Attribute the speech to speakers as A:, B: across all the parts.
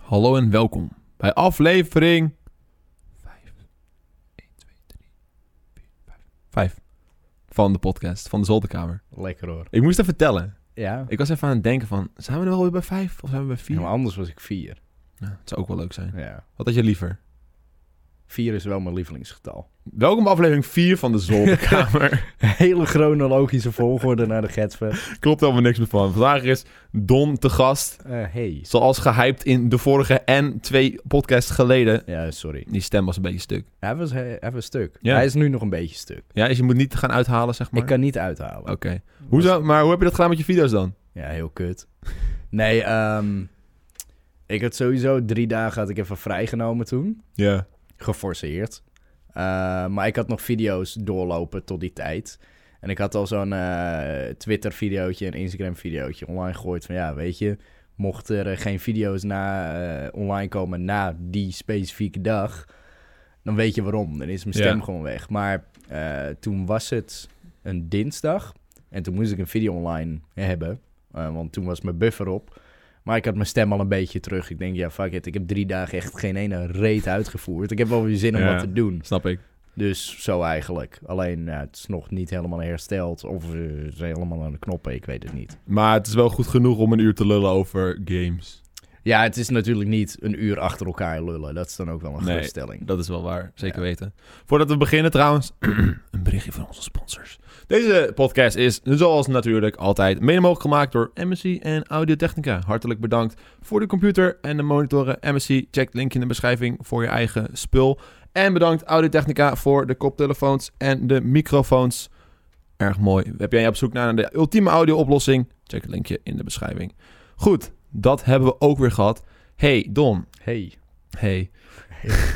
A: Hallo en welkom bij aflevering 5. 1, 2, 3, 4, 5. van de podcast van de Zolderkamer.
B: Lekker hoor.
A: Ik moest even tellen.
B: Ja.
A: Ik was even aan het denken van, zijn we er wel weer bij 5 of zijn we bij 4?
B: Ja, maar anders was ik vier.
A: Ja, het zou ook wel leuk zijn.
B: Ja.
A: Wat had je liever?
B: Vier is wel mijn lievelingsgetal.
A: Welkom bij aflevering 4 van de Zolderkamer.
B: Hele chronologische volgorde naar de Getsver.
A: Klopt helemaal niks meer van. Vandaag is Don te gast.
B: Eh hey.
A: Zoals gehyped in de vorige en twee podcasts geleden.
B: Ja, sorry.
A: Die stem was een beetje stuk.
B: Hij was he- even stuk.
A: Ja.
B: Hij is nu nog een beetje stuk.
A: Ja, dus je moet niet gaan uithalen, zeg maar.
B: Ik kan niet uithalen.
A: Oké. Hoe zou- Maar hoe heb je dat gedaan met je video's dan?
B: Ja, heel kut. Nee, ehm, ik had sowieso drie dagen had ik even vrijgenomen toen.
A: Ja.
B: Geforceerd. Eh, maar ik had nog video's doorlopen tot die tijd. En ik had al zo'n eh, Twitter-videootje en Instagram-videootje online gegooid. Van ja, weet je, mocht er eh, geen video's na, eh, online komen na die specifieke dag, dan weet je waarom. Dan is mijn stem
A: Ja.
B: gewoon weg. Maar eh, toen was het een dinsdag en toen moest ik een video online hebben. eh, want toen was mijn buffer op. Maar ik had mijn stem al een beetje terug. Ik denk, ja, fuck it. Ik heb drie dagen echt geen ene reet uitgevoerd. Ik heb wel weer zin om
A: Ja.
B: wat te doen.
A: Snap ik.
B: Dus zo eigenlijk. Alleen ja, het is nog niet helemaal hersteld. Of eh, ze zijn helemaal aan de knoppen, ik weet het niet.
A: Maar het is wel goed genoeg om een uur te lullen over games.
B: Ja, het is natuurlijk niet een uur achter elkaar lullen. Dat is dan ook wel een
A: Nee.
B: geruststelling.
A: Dat is wel waar, zeker weten. Voordat we beginnen trouwens, een berichtje van onze sponsors. Deze podcast is, zoals natuurlijk altijd, mede mogelijk gemaakt door MSC en Audio-Technica. Hartelijk bedankt voor de computer en de monitoren. MSC, check link in de beschrijving voor je eigen spul. En bedankt Audio-Technica voor de koptelefoons en de microfoons. Erg mooi. Heb jij op zoek naar de ultieme audio-oplossing? Check het linkje in de beschrijving. Goed, dat hebben we ook weer gehad. Hey Don,
B: Hey,
A: Hey.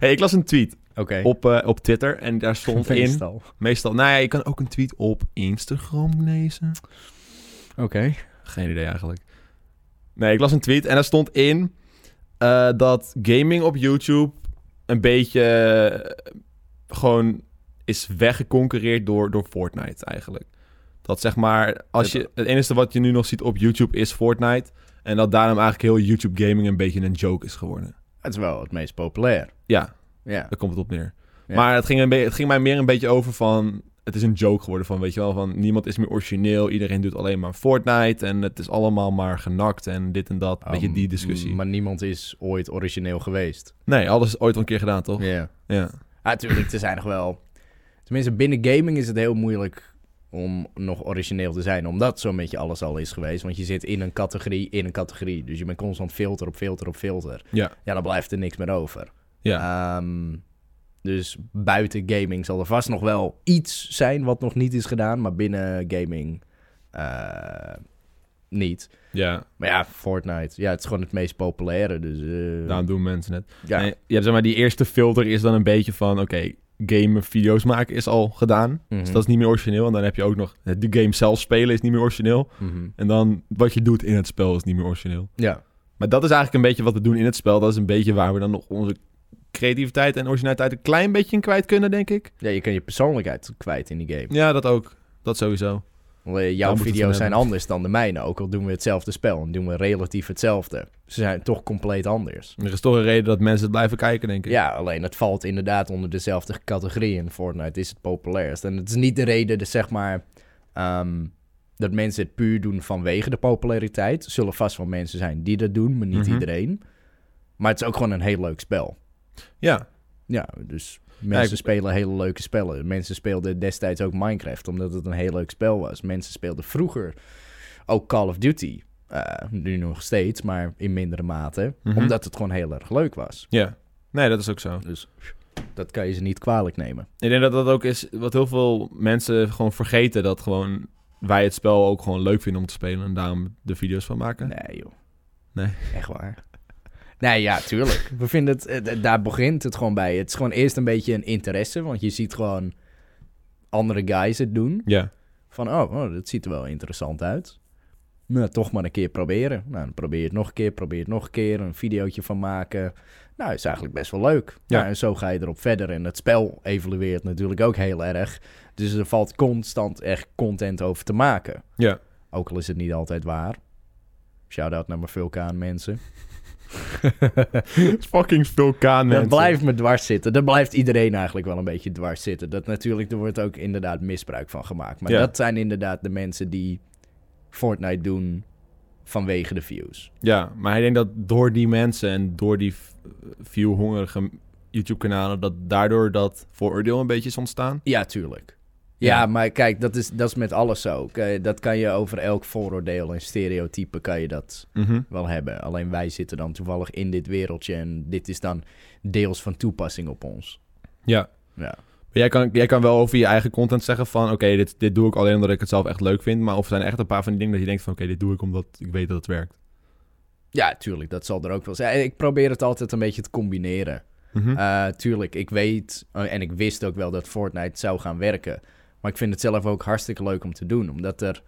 A: hey, ik las een tweet
B: oké.
A: op, eh, op Twitter en daar stond in...
B: Meestal.
A: Meestal, nou ja, je kan ook een tweet op Instagram lezen.
B: Oké.
A: Geen idee eigenlijk. Nee, ik las een tweet en daar stond in eh, dat gaming op YouTube een beetje eh, gewoon is weggeconcureerd door, door Fortnite eigenlijk. Dat zeg maar, als je, het enige wat je nu nog ziet op YouTube is Fortnite. En dat daarom eigenlijk heel YouTube gaming een beetje een joke is geworden.
B: Het is wel het meest populair.
A: Ja,
B: Ja.
A: Daar komt het op neer.
B: Ja.
A: Maar het ging, een be- het ging mij meer een beetje over van... Het is een joke geworden van, weet je wel, van niemand is meer origineel. Iedereen doet alleen maar Fortnite en het is allemaal maar genakt en dit en dat. Weet je,
B: Um,
A: die discussie.
B: Maar niemand is ooit origineel geweest.
A: Nee, alles is ooit wel een keer gedaan, toch?
B: Ja.
A: Ja.
B: Ah, tuurlijk, er zijn nog wel... Tenminste, binnen gaming is het heel moeilijk om nog origineel te zijn. Omdat zo'n beetje alles al is geweest. Want je zit in een categorie, in een categorie. Dus je bent constant filter op filter op filter.
A: Ja.
B: Ja, dan blijft er niks meer over.
A: Ja.
B: Ehm, dus buiten gaming zal er vast nog wel iets zijn wat nog niet is gedaan. Maar binnen gaming eh, niet.
A: ja,
B: Maar ja, Fortnite. Ja, het is gewoon het meest populaire. Dus eh,
A: daarom doen mensen het.
B: ja.
A: Nou, Nee, je hebt, zeg maar, die eerste filter is dan een beetje van, oké, gamen, video's maken is al gedaan. Dus
B: Mhm.
A: dat is niet meer origineel. En dan heb je ook nog, de game zelf spelen is niet meer origineel.
B: Mhm.
A: En dan wat je doet in het spel is niet meer origineel.
B: ja.
A: Maar dat is eigenlijk een beetje wat we doen in het spel. Dat is een beetje waar we dan nog onze creativiteit en originaliteit een klein beetje in kwijt kunnen, denk ik.
B: Ja, je kan je persoonlijkheid kwijt in die game.
A: Ja, dat ook. Dat sowieso.
B: Want, eh,
A: Daar
B: Jouw
A: moet het
B: video's
A: van
B: zijn
A: hebben.
B: anders dan de mijne, ook al doen we hetzelfde spel en doen we relatief hetzelfde. Ze zijn toch compleet anders.
A: Er is toch een reden dat mensen het blijven kijken, denk ik.
B: Ja, alleen het valt inderdaad onder dezelfde categorie in Fortnite is het populairst. En het is niet de reden, dus zeg maar, ehm, dat mensen het puur doen vanwege de populariteit. Er zullen vast wel mensen zijn die dat doen, maar niet
A: Mhm.
B: iedereen. Maar het is ook gewoon een heel leuk spel.
A: Ja,
B: Ja, dus mensen
A: ik-
B: spelen hele leuke spellen. Mensen speelden destijds ook Minecraft, omdat het een heel leuk spel was. Mensen speelden vroeger ook Call of Duty. Eh, nu nog steeds, maar in mindere mate.
A: Mhm.
B: Omdat het gewoon heel erg leuk was.
A: ja. Nee, dat is ook zo.
B: Dus dat kan je ze niet kwalijk nemen.
A: Ik denk dat dat ook is wat heel veel mensen gewoon vergeten. Dat gewoon wij het spel ook gewoon leuk vinden om te spelen. En daarom de video's van maken.
B: Nee, joh.
A: Nee.
B: Echt waar. Nee, ja, tuurlijk. We vinden het, eh, d- daar begint het gewoon bij. Het is gewoon eerst een beetje een interesse, want je ziet gewoon andere guys het doen.
A: Ja.
B: Van, oh, oh, dat ziet er wel interessant uit. Nou, toch maar een keer proberen. Nou, dan probeer je het nog een keer, probeer het nog een keer. Een videootje van maken. Nou, is eigenlijk best wel leuk.
A: Ja.
B: Nou, en zo ga je erop verder. En het spel evolueert natuurlijk ook heel erg. Dus er valt constant echt content over te maken.
A: Ja.
B: Ook al is het niet altijd waar. Shout-out naar mijn vulkaan mensen.
A: Fucking vulkaan,
B: Dat
A: mensen.
B: blijft me dwars zitten. Dat blijft iedereen eigenlijk wel een beetje dwars zitten. Dat natuurlijk, er wordt ook inderdaad misbruik van gemaakt. Maar
A: Ja.
B: dat zijn inderdaad de mensen die Fortnite doen vanwege de views.
A: Ja, maar hij denkt dat door die mensen en door die v- view-hongerige YouTube-kanalen... dat daardoor dat vooroordeel een beetje is ontstaan.
B: Ja, tuurlijk. Ja,
A: Ja.
B: maar kijk, dat is, dat is met alles zo. K- Dat kan je over elk vooroordeel en stereotype kan je dat wel hebben. Alleen wij zitten dan toevallig in dit wereldje en dit is dan deels van toepassing op ons.
A: Ja.
B: Ja.
A: Maar jij kan, jij kan wel over je eigen content zeggen van... oké, dit, dit doe ik alleen omdat ik het zelf echt leuk vind. Maar of er zijn echt een paar van die dingen dat je denkt van... oké, dit doe ik omdat ik weet dat het werkt.
B: Ja, tuurlijk, dat zal er ook wel zijn. Ik probeer het altijd een beetje te combineren.
A: Hm.
B: Eh, tuurlijk, ik weet eh, en ik wist ook wel dat Fortnite zou gaan werken. Maar ik vind het zelf ook hartstikke leuk om te doen. Omdat er,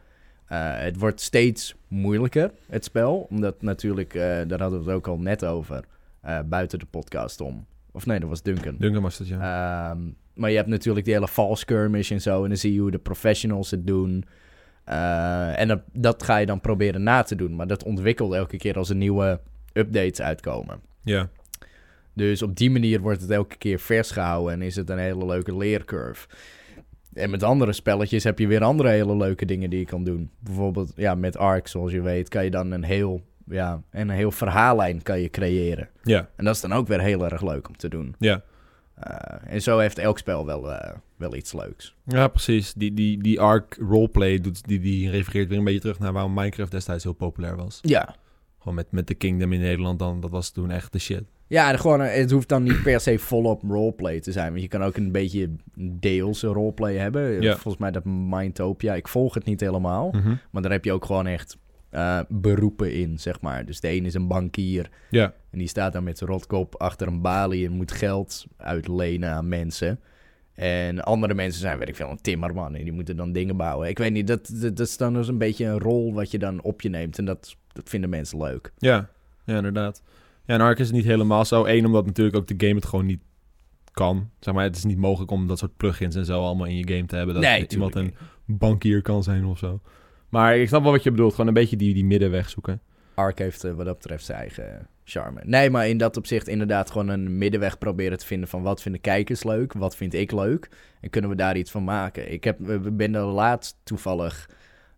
B: eh, het wordt steeds moeilijker, het spel. Omdat natuurlijk, eh, daar hadden we het ook al net over, eh, buiten de podcast om. Of nee, dat was Duncan.
A: Duncan was dat, ja.
B: Ehm, maar je hebt natuurlijk die hele false skirmish en zo. En dan zie je hoe de professionals het doen. Eh, en dat, dat ga je dan proberen na te doen. Maar dat ontwikkelt elke keer als er nieuwe updates uitkomen.
A: ja.
B: Dus op die manier wordt het elke keer vers gehouden en is het een hele leuke leercurve. En met andere spelletjes heb je weer andere hele leuke dingen die je kan doen. Bijvoorbeeld ja, met Ark, zoals je weet, kan je dan een heel, ja, een heel verhaallijn kan je creëren.
A: Ja,
B: En dat is dan ook weer heel erg leuk om te doen.
A: ja.
B: Eh, en zo heeft elk spel wel, eh, wel iets leuks.
A: Ja, precies. Die, die, die arc roleplay doet, die, die refereert weer een beetje terug naar waarom Minecraft destijds heel populair was.
B: Ja.
A: Gewoon met, met de Kingdom in Nederland dan, dat was toen echt de shit.
B: Ja, en gewoon, eh, het hoeft dan niet per se volop roleplay te zijn. Want je kan ook een beetje deels een roleplay hebben.
A: Ja.
B: Volgens mij dat Mindtopia, ik volg het niet helemaal. Maar daar heb je ook gewoon echt eh, beroepen in, zeg maar. Dus de een is een bankier
A: Ja,
B: en die staat dan met zijn rotkop achter een balie en moet geld uitlenen aan mensen. En andere mensen zijn, weet ik veel, een timmerman en die moeten dan dingen bouwen. Ik weet niet, dat, dat, dat is dan dus een beetje een rol wat je dan op je neemt. En dat, dat vinden mensen leuk.
A: ja. Ja, inderdaad. Ja, en arc is niet helemaal zo. Eén, omdat natuurlijk ook de game het gewoon niet kan. Zeg maar, het is niet mogelijk om dat soort plugins en zo allemaal in je game te hebben. Dat iemand
B: tuurlijk
A: een
B: niet.
A: bankier kan zijn of zo. Maar ik snap wel wat je bedoelt. Gewoon een beetje die, die middenweg zoeken.
B: Ark heeft eh, wat dat betreft zijn eigen charme. Nee, maar in dat opzicht inderdaad gewoon een middenweg proberen te vinden van wat vinden kijkers leuk, wat vind ik leuk en kunnen we daar iets van maken. Ik heb, we- ben er laatst toevallig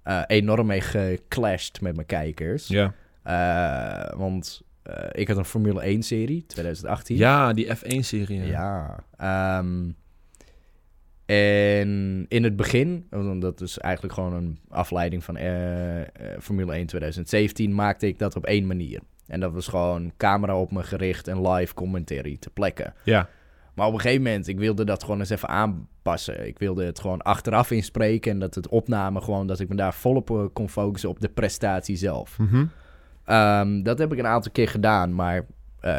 B: eh, enorm mee geclashed met mijn kijkers.
A: Ja,
B: Eh, want eh, ik had een Formule 1 serie, 2018.
A: ja die F1-serie. Ja.
B: Ja. ehm, en in het begin, want dat is eigenlijk gewoon een afleiding van eh, eh, Formule 1 2017, maakte ik dat op één manier. En dat was gewoon camera op me gericht en live commentary te plekken.
A: ja.
B: Maar op een gegeven moment, ik wilde dat gewoon eens even aanpassen. Ik wilde het gewoon achteraf inspreken en dat het opname gewoon, dat ik me daar volop eh, kon focussen op de prestatie zelf.
A: Mhm.
B: Ehm, dat heb ik een aantal keer gedaan, maar eh,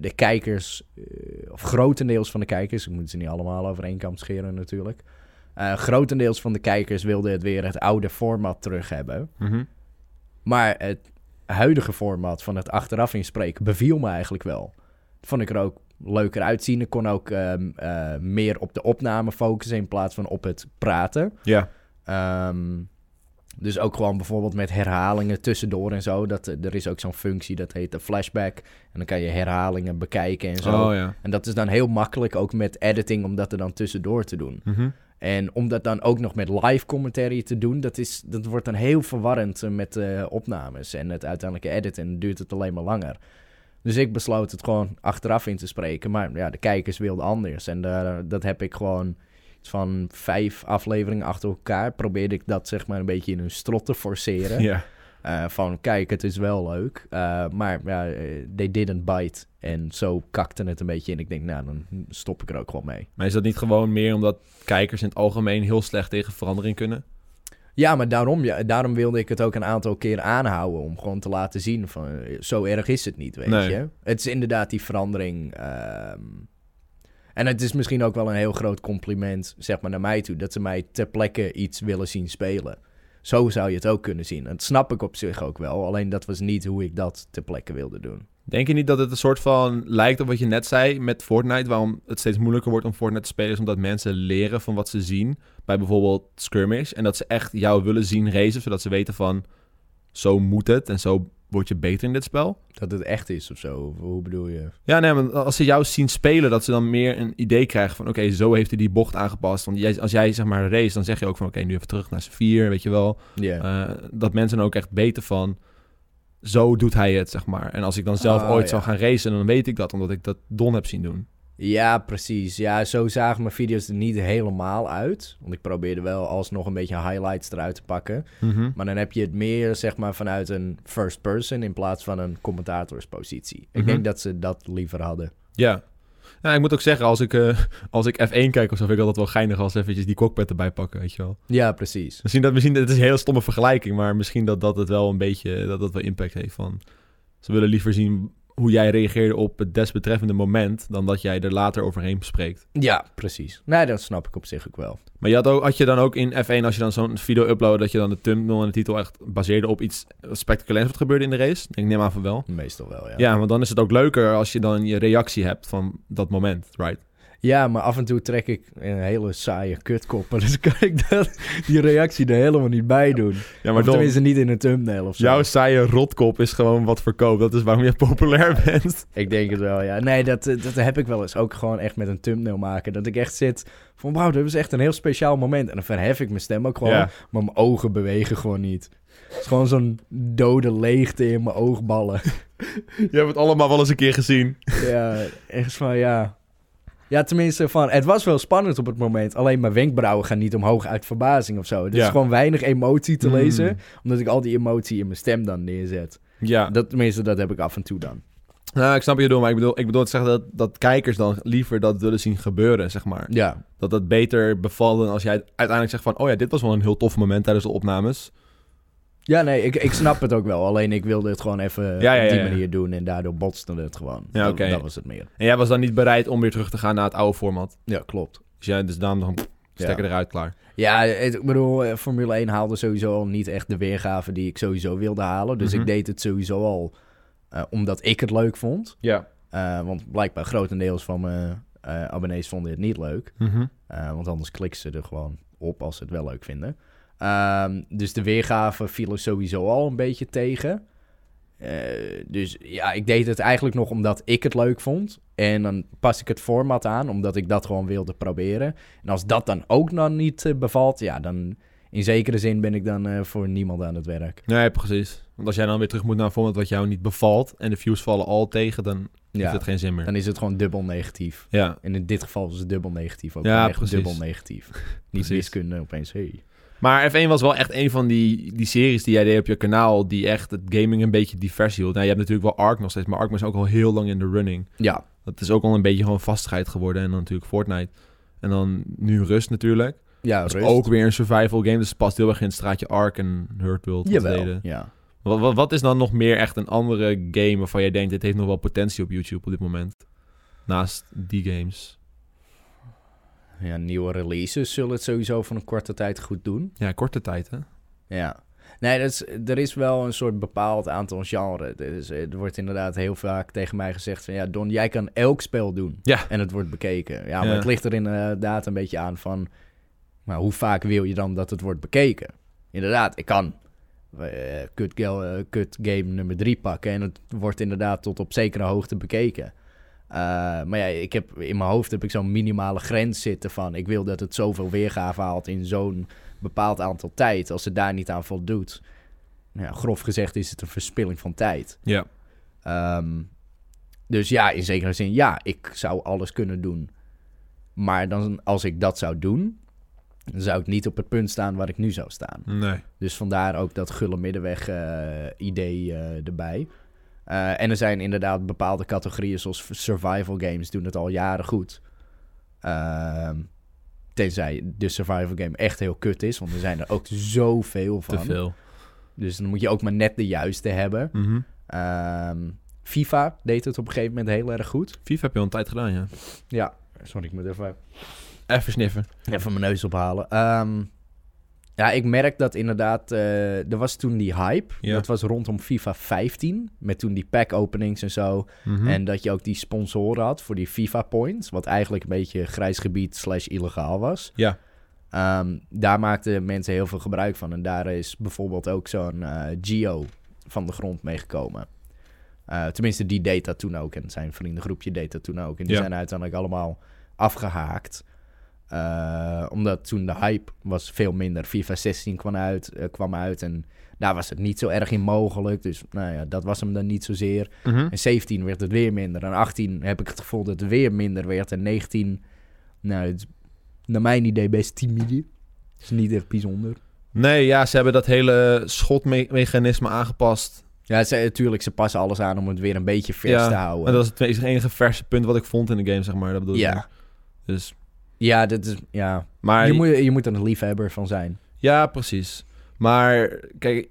B: de kijkers, eh, of grotendeels van de kijkers, ik moet ze niet allemaal over één kam scheren natuurlijk. Eh, grotendeels van de kijkers wilden het weer het oude format terug hebben.
A: Mhm.
B: Maar het huidige format van het achteraf inspreken beviel me eigenlijk wel. Vond ik er ook leuker uitzien. Ik kon ook ehm, eh, meer op de opname focussen in plaats van op het praten.
A: Ja.
B: Ehm, dus ook gewoon bijvoorbeeld met herhalingen tussendoor en zo. Dat, eh, er is ook zo'n functie, dat heet de flashback. En dan kan je herhalingen bekijken en zo.
A: Oh ja.
B: En dat is dan heel makkelijk ook met editing om dat er dan tussendoor te doen.
A: Mhm.
B: En om dat dan ook nog met live commentary te doen, dat, is, dat wordt dan heel verwarrend eh, met de opnames en het uiteindelijke editen. En dan duurt het alleen maar langer. Dus ik besloot het gewoon achteraf in te spreken. Maar ja, de kijkers wilden anders. En daar, dat heb ik gewoon iets van vijf afleveringen achter elkaar. Probeerde ik dat zeg maar een beetje in hun strot te forceren.
A: Ja.
B: Eh, van kijk, het is wel leuk. eh, maar ja, eh, they didn't bite. En zo kakte het een beetje in. Ik denk, nou, dan stop ik er ook gewoon mee.
A: Maar is dat niet gewoon meer omdat kijkers in het algemeen heel slecht tegen verandering kunnen?
B: Ja, maar daarom, ja, daarom wilde ik het ook een aantal keer aanhouden. Om gewoon te laten zien van eh, zo erg is het niet, weet
A: Nee.
B: je. Het is inderdaad die verandering. ehm, en het is misschien ook wel een heel groot compliment, zeg maar, naar mij toe. Dat ze mij ter plekke iets willen zien spelen. Zo zou je het ook kunnen zien. En dat snap ik op zich ook wel. Alleen dat was niet hoe ik dat ter plekke wilde doen.
A: Denk je niet dat het een soort van lijkt op wat je net zei met Fortnite, waarom het steeds moeilijker wordt om Fortnite te spelen, is omdat mensen leren van wat ze zien bij bijvoorbeeld skirmish en dat ze echt jou willen zien racen, zodat ze weten van zo moet het en zo word je beter in dit spel.
B: Dat het echt is of zo? Of Hoe bedoel je?
A: Ja, nee, maar als ze jou zien spelen, dat ze dan meer een idee krijgen van... oké, zo heeft hij die bocht aangepast. Want jij, als jij zeg maar race, dan zeg je ook van... oké, nu even terug naar z'n vier, weet je wel.
B: Ja.
A: Eh, dat mensen er ook echt weten van... zo doet hij het, zeg maar. En als ik dan zelf
B: Oh,
A: ooit
B: ja.
A: zou gaan racen, dan weet ik dat... omdat ik dat Don heb zien doen.
B: Ja, precies. Ja, zo zagen mijn video's er niet helemaal uit. Want ik probeerde wel alsnog een beetje highlights eruit te pakken. Maar dan heb je het meer zeg maar vanuit een first person in plaats van een commentatorspositie. Ik
A: Mhm.
B: denk dat ze dat liever hadden.
A: Ja. Nou, ik moet ook zeggen, als ik, eh, als ik F1 kijk of zo... vind ik altijd wel geinig als ze eventjes die cockpit erbij pakken, weet je wel.
B: Ja, precies.
A: Misschien dat, misschien, het is een hele stomme vergelijking, maar misschien dat dat het wel een beetje, dat dat wel impact heeft van... Ze willen liever zien hoe jij reageerde op het desbetreffende moment, dan dat jij er later overheen spreekt.
B: Ja, precies. Nee, dat snap ik op zich ook wel.
A: Maar je had, ook, had je dan ook in F1, als je dan zo'n video uploadde, dat je dan de thumbnail en de titel echt baseerde op iets spectaculairs wat gebeurde in de race? Ik neem aan van wel.
B: Meestal wel, ja.
A: Ja, want dan is het ook leuker als je dan je reactie hebt van dat moment, right?
B: Ja, maar af en toe trek ik een hele saaie kutkop. en Dus kan ik dat, die reactie er helemaal niet bij doen.
A: Ja,
B: of tenminste niet in een thumbnail of zo.
A: jouw saaie rotkop is gewoon wat verkoopt. Dat is waarom je populair bent.
B: Ik denk het wel, ja. Nee, dat, eh, dat heb ik wel eens. Ook gewoon echt met een thumbnail maken. Dat ik echt zit van, wauw, dat is echt een heel speciaal moment. En dan verhef ik mijn stem ook gewoon.
A: Ja.
B: Maar mijn ogen bewegen gewoon niet. Het is gewoon zo'n dode leegte in mijn oogballen.
A: Je hebt het allemaal wel eens een keer gezien.
B: ja, echt van, ja. Ja, tenminste van, het was wel spannend op het moment. Alleen mijn wenkbrauwen gaan niet omhoog uit verbazing of zo. Er
A: Ja.
B: is gewoon weinig emotie te
A: Mm.
B: lezen. Omdat ik al die emotie in mijn stem dan neerzet.
A: Ja.
B: Dat, tenminste, dat heb ik af en toe dan.
A: Nou, ik snap je bedoel, maar ik bedoel, ik bedoel te zeggen dat, dat kijkers dan liever dat willen zien gebeuren, zeg maar.
B: Ja,
A: Dat dat beter bevalt dan als jij uiteindelijk zegt van, oh ja, dit was wel een heel tof moment tijdens de opnames.
B: Ja, nee, ik, ik snap het ook wel. Alleen ik wilde het gewoon even
A: Ja, ja,
B: op die
A: ja, ja.
B: manier doen. En daardoor botste het gewoon.
A: Ja,
B: dat,
A: oké.
B: dat was het meer.
A: En jij was dan niet bereid om weer terug te gaan naar het oude format.
B: Ja, klopt.
A: Dus, jij, dus daarom dan stekker eruit, klaar.
B: Ja, het- ik bedoel, eh, Formule 1 haalde sowieso al niet echt de weergave die ik sowieso wilde halen. Dus
A: Mhm.
B: ik deed het sowieso al eh, omdat ik het leuk vond.
A: Ja.
B: Eh, want blijkbaar grotendeels van mijn eh, abonnees vonden het niet leuk.
A: Mhm.
B: Eh, want anders klikken ze er gewoon op als ze het wel leuk vinden. Ehm, dus de weergave vielen sowieso al een beetje tegen. Eh, dus ja, ik deed het eigenlijk nog omdat ik het leuk vond. En dan pas ik het format aan, omdat ik dat gewoon wilde proberen. En als dat dan ook dan niet eh, bevalt, ja, dan in zekere zin ben ik dan eh, voor niemand aan het werk.
A: Nee, precies. Want als jij dan weer terug moet naar een format wat jou niet bevalt en de views vallen al tegen, dan heeft
B: Ja,
A: het geen zin meer.
B: dan is het gewoon dubbel negatief.
A: Ja.
B: En in dit geval is het dubbel negatief ook.
A: Ja,
B: Ja, echt
A: precies.
B: dubbel negatief. Niet
A: Precies.
B: wiskunde opeens. Hey.
A: Maar F1 was wel echt een van die, die series die jij deed op je kanaal, die echt het gaming een beetje divers hield. Nou, je hebt natuurlijk wel Ark nog steeds, maar Ark was ook al heel lang in de running.
B: Ja,
A: Dat is ook al een beetje gewoon vastigheid geworden. En dan natuurlijk Fortnite. En dan nu Rust natuurlijk.
B: ja
A: Dat is
B: rust.
A: ook weer een survival game. Dus het past heel erg in het straatje Ark en Hurt World. wat we
B: Jawel,
A: deden.
B: ja.
A: Wat, wat, wat is dan nog meer echt een andere game waarvan jij denkt... dit heeft nog wel potentie op YouTube op dit moment? Naast die games.
B: ja. Nieuwe releases zullen het sowieso van een korte tijd goed doen.
A: Ja, korte tijd hè?
B: Ja. Nee, dat is, er is wel een soort bepaald aantal genres. Dus er wordt inderdaad heel vaak tegen mij gezegd van... Ja, Don, jij kan elk spel doen.
A: Ja.
B: En het wordt bekeken. Ja, maar
A: Ja.
B: het ligt er inderdaad een beetje aan van... Maar hoe vaak wil je dan dat het wordt bekeken? Inderdaad, ik kan eh, kut, gal- eh, kut game nummer 3 pakken... en het wordt inderdaad tot op zekere hoogte bekeken. Eh, maar ja, ik heb, in mijn hoofd heb ik zo'n minimale grens zitten van... ik wil dat het zoveel weergave haalt in zo'n bepaald aantal tijd... als het daar niet aan voldoet. Nou, ja, grof gezegd is het een verspilling van tijd.
A: Ja.
B: Ehm, dus ja, in zekere zin, ja, ik zou alles kunnen doen. Maar dan, als ik dat zou doen, dan zou ik niet op het punt staan waar ik nu zou staan.
A: Nee.
B: Dus vandaar ook dat gulle middenweg eh, idee eh, erbij. Eh, en er zijn inderdaad bepaalde categorieën, zoals survival games, doen het al jaren goed. Ehm, tenzij de survival game echt heel kut is, want er zijn er ook zoveel van.
A: Te veel.
B: Dus dan moet je ook maar net de juiste hebben.
A: Mhm.
B: Ehm, FIFA deed het op een gegeven moment heel erg goed.
A: FIFA heb je al een tijd gedaan, ja.
B: Ja. Sorry, ik moet even,
A: Even sniffen.
B: even mijn neus ophalen. Ehm, ja, ik merk dat inderdaad... eh, er was toen die hype.
A: Ja.
B: Dat was rondom FIFA 15. Met toen die pack openings en zo.
A: Mhm.
B: En dat je ook die sponsoren had voor die FIFA points. Wat eigenlijk een beetje grijs gebied slash illegaal was.
A: Ja.
B: Ehm, daar maakten mensen heel veel gebruik van. En daar is bijvoorbeeld ook zo'n eh, Geo van de grond meegekomen. Eh, tenminste, die deed dat toen ook. En zijn vriendengroepje deed dat toen ook. En die
A: Ja.
B: zijn uiteindelijk allemaal afgehaakt. Eh, omdat toen de hype was veel minder. FIFA 16 kwam uit, eh, kwam uit en daar was het niet zo erg in mogelijk. Dus nou ja, dat was hem dan niet zozeer.
A: Mhm.
B: En 17 werd het weer minder. En 18 heb ik het gevoel dat het weer minder werd. En 19, nou, het, naar mijn idee best timide. Is niet echt bijzonder.
A: Nee, ja, ze hebben dat hele schotmechanisme aangepast.
B: Ja, ze, natuurlijk, ze passen alles aan om het weer een beetje vers
A: Ja,
B: te houden.
A: En dat is het enige- enige verse punt wat ik vond in de game, zeg maar. Dat bedoel ik.
B: ja.
A: Dus,
B: ja, dat is... Ja.
A: maar
B: Je, moet, je moet er een liefhebber van zijn.
A: Ja, precies. Maar kijk,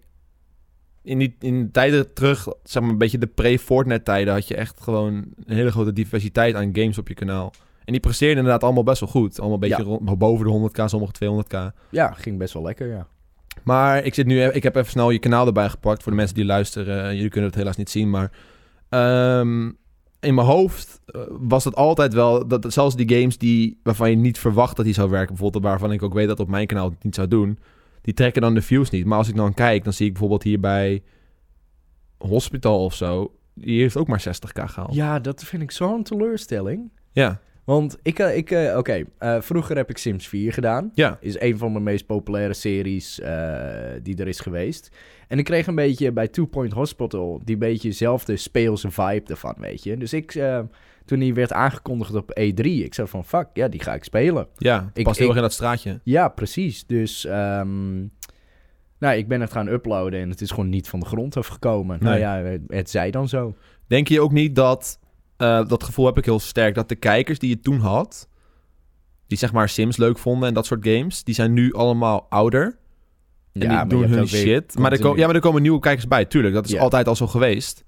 A: in die in de tijden terug, zeg maar een beetje de pre-Fortnite tijden, had je echt gewoon een hele grote diversiteit aan games op je kanaal. En die presteerden inderdaad allemaal best wel goed. Allemaal een beetje rond- boven de 100k, sommige 200k.
B: Ja, ging best wel lekker, ja.
A: Maar ik, zit nu, e- ik heb even snel je kanaal erbij gepakt voor de mensen die luisteren. Eh, Jullie kunnen het helaas niet zien, maar ehm, in mijn hoofd eh, was het altijd wel dat dat zelfs die games die, waarvan je niet verwacht dat die zou werken, bijvoorbeeld waarvan ik ook weet dat op mijn kanaal het niet zou doen, die trekken dan de views niet. Maar als ik dan kijk, dan zie ik bijvoorbeeld hier bij Hospital of zo, die heeft ook maar 60k gehaald.
B: Ja, dat vind ik zo'n teleurstelling.
A: Ja,
B: Want ik... eh, ik eh, Oké, eh, vroeger heb ik Sims 4 gedaan.
A: ja,
B: Is een van mijn meest populaire series eh, die er is geweest. En ik kreeg een beetje bij Two Point Hospital die beetje zelfde speelse vibe ervan, weet je. Dus ik, eh, toen die werd aangekondigd op E3, ik zei van fuck, ja, die ga ik spelen.
A: ja.
B: Ik-
A: past heel
B: ik-
A: erg in dat straatje.
B: Ja, precies. Dus ehm, nou, ik ben het gaan uploaden en het is gewoon niet van de grond afgekomen. Nou
A: Nee.
B: ja, het, het zij dan zo.
A: Denk je ook niet dat, eh, dat gevoel heb ik heel sterk, dat de kijkers die je toen had, die zeg maar Sims leuk vonden en dat soort games, die zijn nu allemaal ouder. En die doen hun shit. Maar er, ko- ja, maar er komen nieuwe kijkers bij, tuurlijk. Dat is
B: Ja.
A: altijd al zo geweest.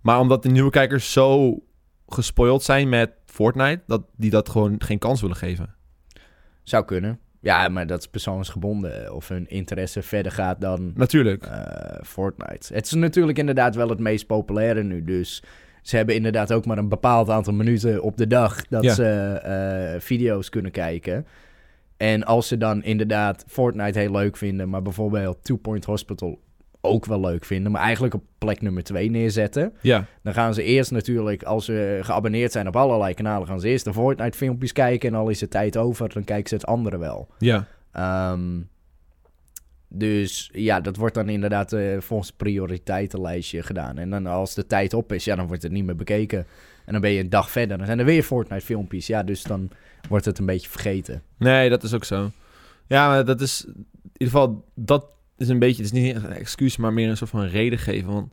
A: Maar omdat de nieuwe kijkers zo gespoild zijn met Fortnite, dat die dat gewoon geen kans willen geven.
B: Zou kunnen. Ja, maar dat is persoonsgebonden. Of hun interesse verder gaat dan
A: Natuurlijk.
B: eh, Fortnite. Het is natuurlijk inderdaad wel het meest populaire nu. Dus ze hebben inderdaad ook maar een bepaald aantal minuten op de dag dat
A: Ja.
B: ze eh, video's kunnen kijken. En als ze dan inderdaad Fortnite heel leuk vinden, maar bijvoorbeeld Two Point Hospital ook wel leuk vinden, maar eigenlijk op plek nummer 2 neerzetten.
A: Ja,
B: Dan gaan ze eerst natuurlijk, als ze geabonneerd zijn op allerlei kanalen, gaan ze eerst de Fortnite filmpjes kijken. En al is de tijd over, dan kijken ze het andere wel.
A: ja.
B: Ehm, dus ja, dat wordt dan inderdaad eh, volgens prioriteitenlijstje gedaan. En dan als de tijd op is, ja, dan wordt het niet meer bekeken. En dan ben je een dag verder. Dan zijn er weer Fortnite filmpjes. Ja, dus dan wordt het een beetje vergeten.
A: Nee, dat is ook zo. Ja, maar dat is... In ieder geval, dat is een beetje... Het is niet echt een excuus, maar meer een soort van reden geven. Want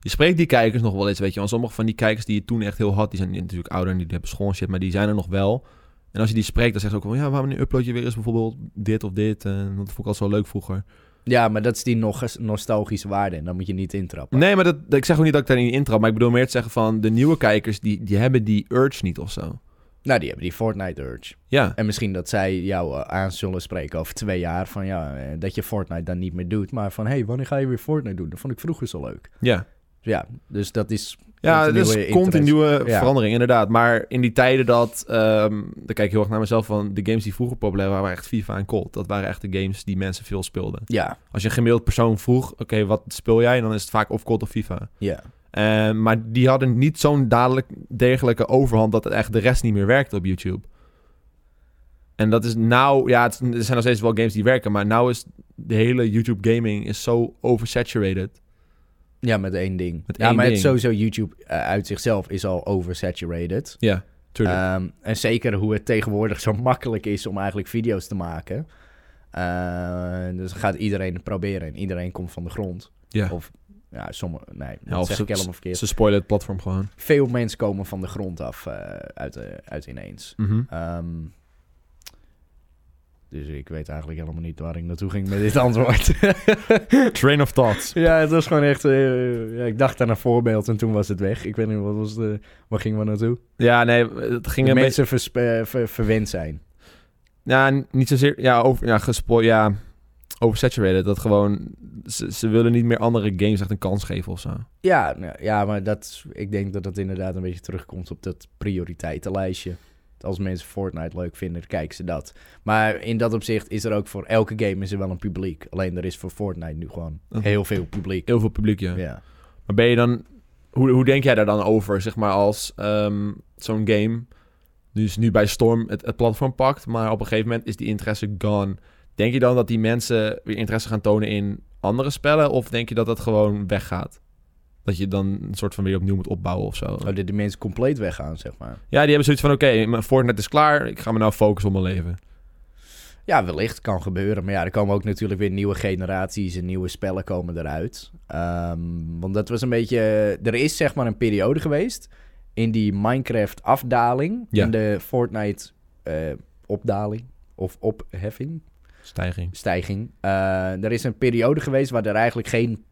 A: je spreekt die kijkers nog wel eens, weet je. Want sommige van die kijkers die je toen echt heel had... Die zijn natuurlijk ouder en die hebben school en shit, maar die zijn er nog wel. En als je die spreekt, dan zegt ze ook wel... Ja, waarom nu upload je weer eens bijvoorbeeld dit of dit? En dat vond ik al zo leuk vroeger.
B: Ja, maar dat is die nog eens nostalgische waarde. En dan moet je niet intrappen.
A: Nee, maar dat, ik zeg ook niet dat ik daar niet intrap. Maar ik bedoel meer te zeggen van... De nieuwe kijkers, die, die hebben die urge niet of zo.
B: Nou, die hebben die Fortnite urge.
A: Ja,
B: En misschien dat zij jou eh, aan zullen spreken over twee jaar. Van ja, eh, dat je Fortnite dan niet meer doet. Maar van hé, hey, wanneer ga je weer Fortnite doen? Dat vond ik vroeger zo leuk.
A: ja.
B: Ja, dus dat is.
A: Ja,
B: continue
A: dus
B: interesse.
A: continue
B: Ja.
A: verandering, inderdaad. Maar in die tijden dat... ehm dan kijk ik heel erg naar mezelf van... De games die vroeger populair waren, waren echt FIFA en Cold. Dat waren echt de games die mensen veel speelden.
B: Ja,
A: Als je een gemiddeld persoon vroeg... Oké, wat speel jij? Dan is het vaak of Cold of FIFA.
B: ja.
A: Eh, maar die hadden niet zo'n dadelijk degelijke overhand... dat het echt de rest niet meer werkte op YouTube. En dat is nou... Ja, het, er zijn nog steeds wel games die werken... maar nou is de hele YouTube gaming is zo oversaturated.
B: Ja, met één ding.
A: Met
B: ja,
A: één
B: maar het
A: ding.
B: sowieso YouTube eh, uit zichzelf is al oversaturated.
A: Ja, tuurlijk.
B: Ehm, en zeker hoe het tegenwoordig zo makkelijk is om eigenlijk video's te maken. Eh, dus dan gaat iedereen het proberen en iedereen komt van de grond.
A: Ja.
B: Of ja, sommige. Nee, dat
A: Ja, of
B: zeg
A: ze-
B: ik helemaal verkeerd.
A: Ze spoilen het platform gewoon.
B: Veel mensen komen van de grond af eh, uit, eh, uit ineens.
A: Mhm.
B: Ehm, dus ik weet eigenlijk helemaal niet waar ik naartoe ging met dit antwoord.
A: Train of thoughts.
B: Ja, het was gewoon echt... eh, ja, ik dacht aan een voorbeeld en toen was het weg. Ik weet niet, wat was de, waar gingen we naartoe?
A: Ja, nee, het ging
B: Dat
A: een beetje...
B: mensen versp- eh, ver- verwend zijn.
A: Ja, n- niet zozeer... Ja, over, ja, gespo- ja oversaturated. Dat gewoon... Ze, ze willen niet meer andere games echt een kans geven of zo.
B: Ja, nou, ja maar dat, ik denk dat dat inderdaad een beetje terugkomt op dat prioriteitenlijstje. Als mensen Fortnite leuk vinden, dan kijken ze dat. Maar in dat opzicht is er ook voor elke game is er wel een publiek. Alleen er is voor Fortnite nu gewoon
A: Mhm.
B: heel veel publiek.
A: Heel veel publiek, ja.
B: Ja.
A: Maar ben je dan... Hoe, hoe denk jij daar dan over, zeg maar, als ehm, zo'n game... Dus nu bij Storm het, het platform pakt, maar op een gegeven moment is die interesse gone. Denk je dan dat die mensen weer interesse gaan tonen in andere spellen? Of denk je dat dat gewoon weggaat? Dat je dan een soort van weer opnieuw moet opbouwen of zo?
B: Oh, dat de mensen compleet weggaan, zeg maar.
A: Ja, die hebben zoiets van, oké, mijn Fortnite is klaar. Ik ga me nou focussen op mijn leven.
B: Ja, wellicht kan gebeuren. Maar ja, er komen ook natuurlijk weer nieuwe generaties en nieuwe spellen komen eruit. Ehm, want dat was een beetje. Er is zeg maar een periode geweest in die Minecraft-afdaling.
A: Ja.
B: In de Fortnite-opdaling. of opheffing,
A: Stijging.
B: stijging. Eh, er is een periode geweest waar er eigenlijk geen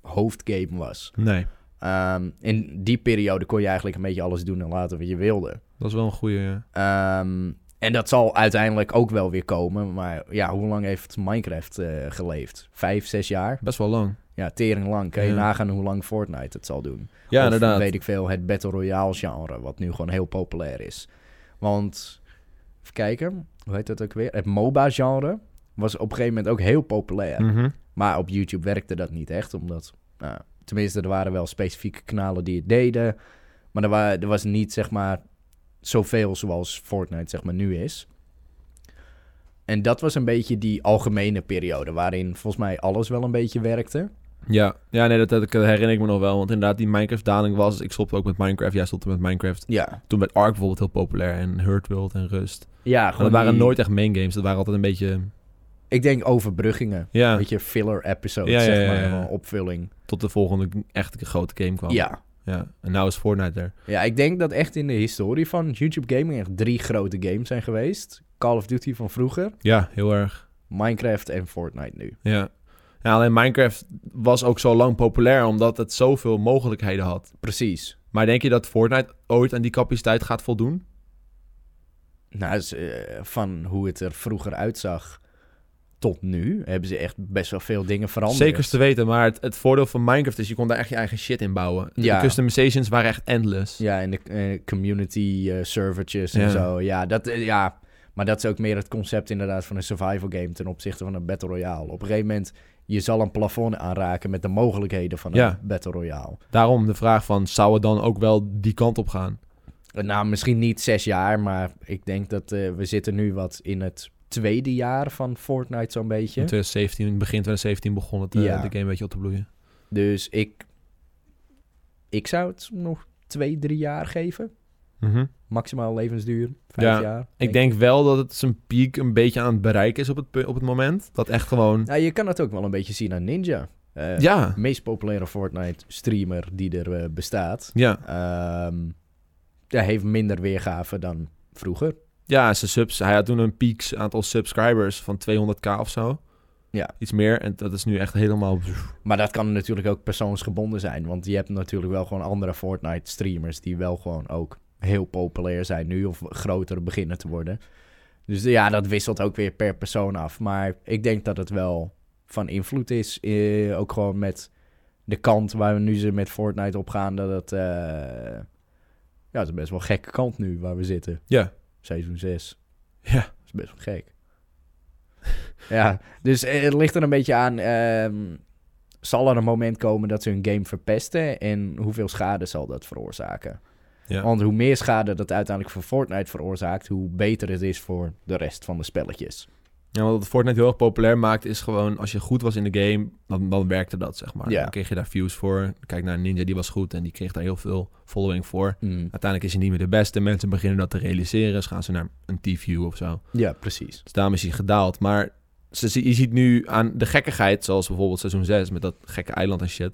B: hoofdgame was.
A: Nee,
B: Ehm, in die periode kon je eigenlijk een beetje alles doen en laten wat je wilde.
A: dat is wel een goede... ja.
B: Ehm, en dat zal uiteindelijk ook wel weer komen. Maar ja, hoe lang heeft Minecraft eh, geleefd? Vijf, zes jaar?
A: Best wel lang.
B: Ja, tering lang. Kan je
A: Ja.
B: nagaan hoe lang Fortnite het zal doen?
A: Ja,
B: Of,
A: inderdaad.
B: weet ik veel, het Battle Royale genre, wat nu gewoon heel populair is. Want, even kijken, hoe heet dat ook weer? Het MOBA genre was op een gegeven moment ook heel populair.
A: Mhm.
B: Maar op YouTube werkte dat niet echt, omdat... Nou, tenminste, er waren wel specifieke kanalen die het deden. Maar er, wa- er was niet, zeg maar, zoveel zoals Fortnite, zeg maar, nu is. En dat was een beetje die algemene periode... waarin volgens mij alles wel een beetje werkte.
A: Ja, ja nee, dat, dat herinner ik me nog wel. Want inderdaad, die Minecraft-daling was... Ik stopte ook met Minecraft. Jij stopte met Minecraft.
B: Ja.
A: Toen werd Ark bijvoorbeeld heel populair. En Hurt World en Rust.
B: Ja,
A: Maar
B: gewoon
A: dat waren
B: die-
A: nooit echt main games. Dat waren altijd een beetje...
B: Ik denk overbruggingen.
A: Ja,
B: Weet je, filler episodes,
A: Ja, ja,
B: zeg
A: ja,
B: maar,
A: ja.
B: gewoon opvulling.
A: tot de volgende echte grote game kwam.
B: Ja.
A: ja. En nou is Fortnite er.
B: ja, ik denk dat echt in de historie van YouTube gaming... echt drie grote games zijn geweest. Call of Duty van vroeger,
A: Ja, heel erg.
B: Minecraft en Fortnite nu.
A: Ja. ja, alleen Minecraft was ook zo lang populair... omdat het zoveel mogelijkheden had.
B: Precies.
A: Maar denk je dat Fortnite ooit aan die capaciteit gaat voldoen?
B: Nou, dus, eh, van hoe het er vroeger uitzag tot nu, hebben ze echt best wel veel dingen veranderd.
A: Zeker te weten, maar het, het voordeel van Minecraft is... je kon daar echt je eigen shit in bouwen.
B: Ja.
A: De customizations waren echt endless.
B: Ja, en de eh, community eh, servertjes
A: Ja.
B: en zo. Ja, dat, eh, ja, maar dat is ook meer het concept inderdaad van een survival game ten opzichte van een Battle Royale. Op een gegeven moment, je zal een plafond aanraken met de mogelijkheden van een
A: Ja.
B: Battle Royale.
A: Daarom de vraag van, zou het dan ook wel die kant op gaan?
B: Eh, Nou, misschien niet zes jaar, maar ik denk dat eh, we zitten nu wat in het tweede jaar van Fortnite zo'n beetje.
A: In 2017, begin 2017 begon het, eh,
B: Ja.
A: de game een beetje op te bloeien.
B: Dus ik, ik zou het nog twee, drie jaar geven. Mhm. Maximaal levensduur, vijf
A: Ja,
B: jaar.
A: Ik denk wel dat het zijn piek een beetje aan het bereiken is op het, pu- op het moment. Dat echt gewoon...
B: Nou, je kan het ook wel een beetje zien aan Ninja. Eh,
A: Ja,
B: de meest populaire Fortnite-streamer die er eh, bestaat.
A: ja.
B: Ehm hij heeft minder weergave dan vroeger.
A: Ja, zijn subs, hij had toen een piek aantal subscribers van 200k of zo.
B: Ja.
A: Iets meer. En dat is nu echt helemaal...
B: Maar dat kan natuurlijk ook persoonsgebonden zijn. Want je hebt natuurlijk wel gewoon andere Fortnite-streamers... die wel gewoon ook heel populair zijn nu... of groter beginnen te worden. Dus ja, dat wisselt ook weer per persoon af. Maar ik denk dat het wel van invloed is. eh, ook gewoon met de kant waar we nu ze met Fortnite op gaan... dat het... eh, ja, het is best wel een gekke kant nu waar we zitten.
A: Ja.
B: Seizoen 6.
A: Ja.
B: Dat is best wel gek. ja, dus eh, het ligt er een beetje aan... ehm, zal er een moment komen dat ze hun game verpesten en hoeveel schade zal dat veroorzaken?
A: Ja.
B: Want hoe meer schade dat uiteindelijk voor Fortnite veroorzaakt, hoe beter het is voor de rest van de spelletjes.
A: Ja, want wat Fortnite heel erg populair maakt is gewoon... Als je goed was in de game, dan, dan werkte dat, zeg maar.
B: Ja.
A: Dan kreeg je daar views voor. Kijk naar Ninja, die was goed en die kreeg daar heel veel following voor. Uiteindelijk is hij niet meer de beste. Mensen beginnen dat te realiseren. Dus gaan ze naar een T-view of zo.
B: Ja, precies.
A: Dus daarom is hij gedaald. Maar ze, ze- je ziet nu aan de gekkigheid, zoals bijvoorbeeld seizoen 6 met dat gekke eiland en shit.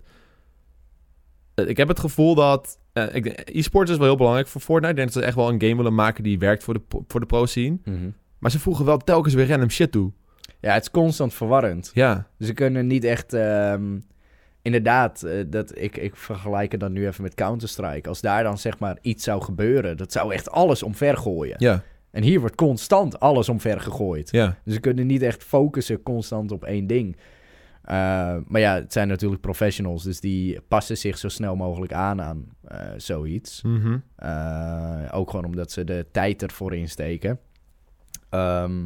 A: Eh, Ik heb het gevoel dat. eh, ik, denk- e-sport is wel heel belangrijk voor Fortnite. Ik denk dat ze echt wel een game willen maken die werkt voor de, pro- voor de pro-scene. Maar ze voegen wel telkens weer random shit toe.
B: Ja, het is constant verwarrend.
A: Ja,
B: Ze kunnen niet echt. ehm, inderdaad, eh, dat, ik, ik vergelijk het dan nu even met Counter-Strike. Als daar dan zeg maar iets zou gebeuren, dat zou echt alles omver gooien.
A: ja,
B: En hier wordt constant alles omver gegooid.
A: ja.
B: Dus ze kunnen niet echt focussen constant op één ding. Eh, maar ja, het zijn natuurlijk professionals, dus die passen zich zo snel mogelijk aan aan eh, zoiets.
A: Mhm.
B: Eh, ook gewoon omdat ze de tijd ervoor insteken. Ehm,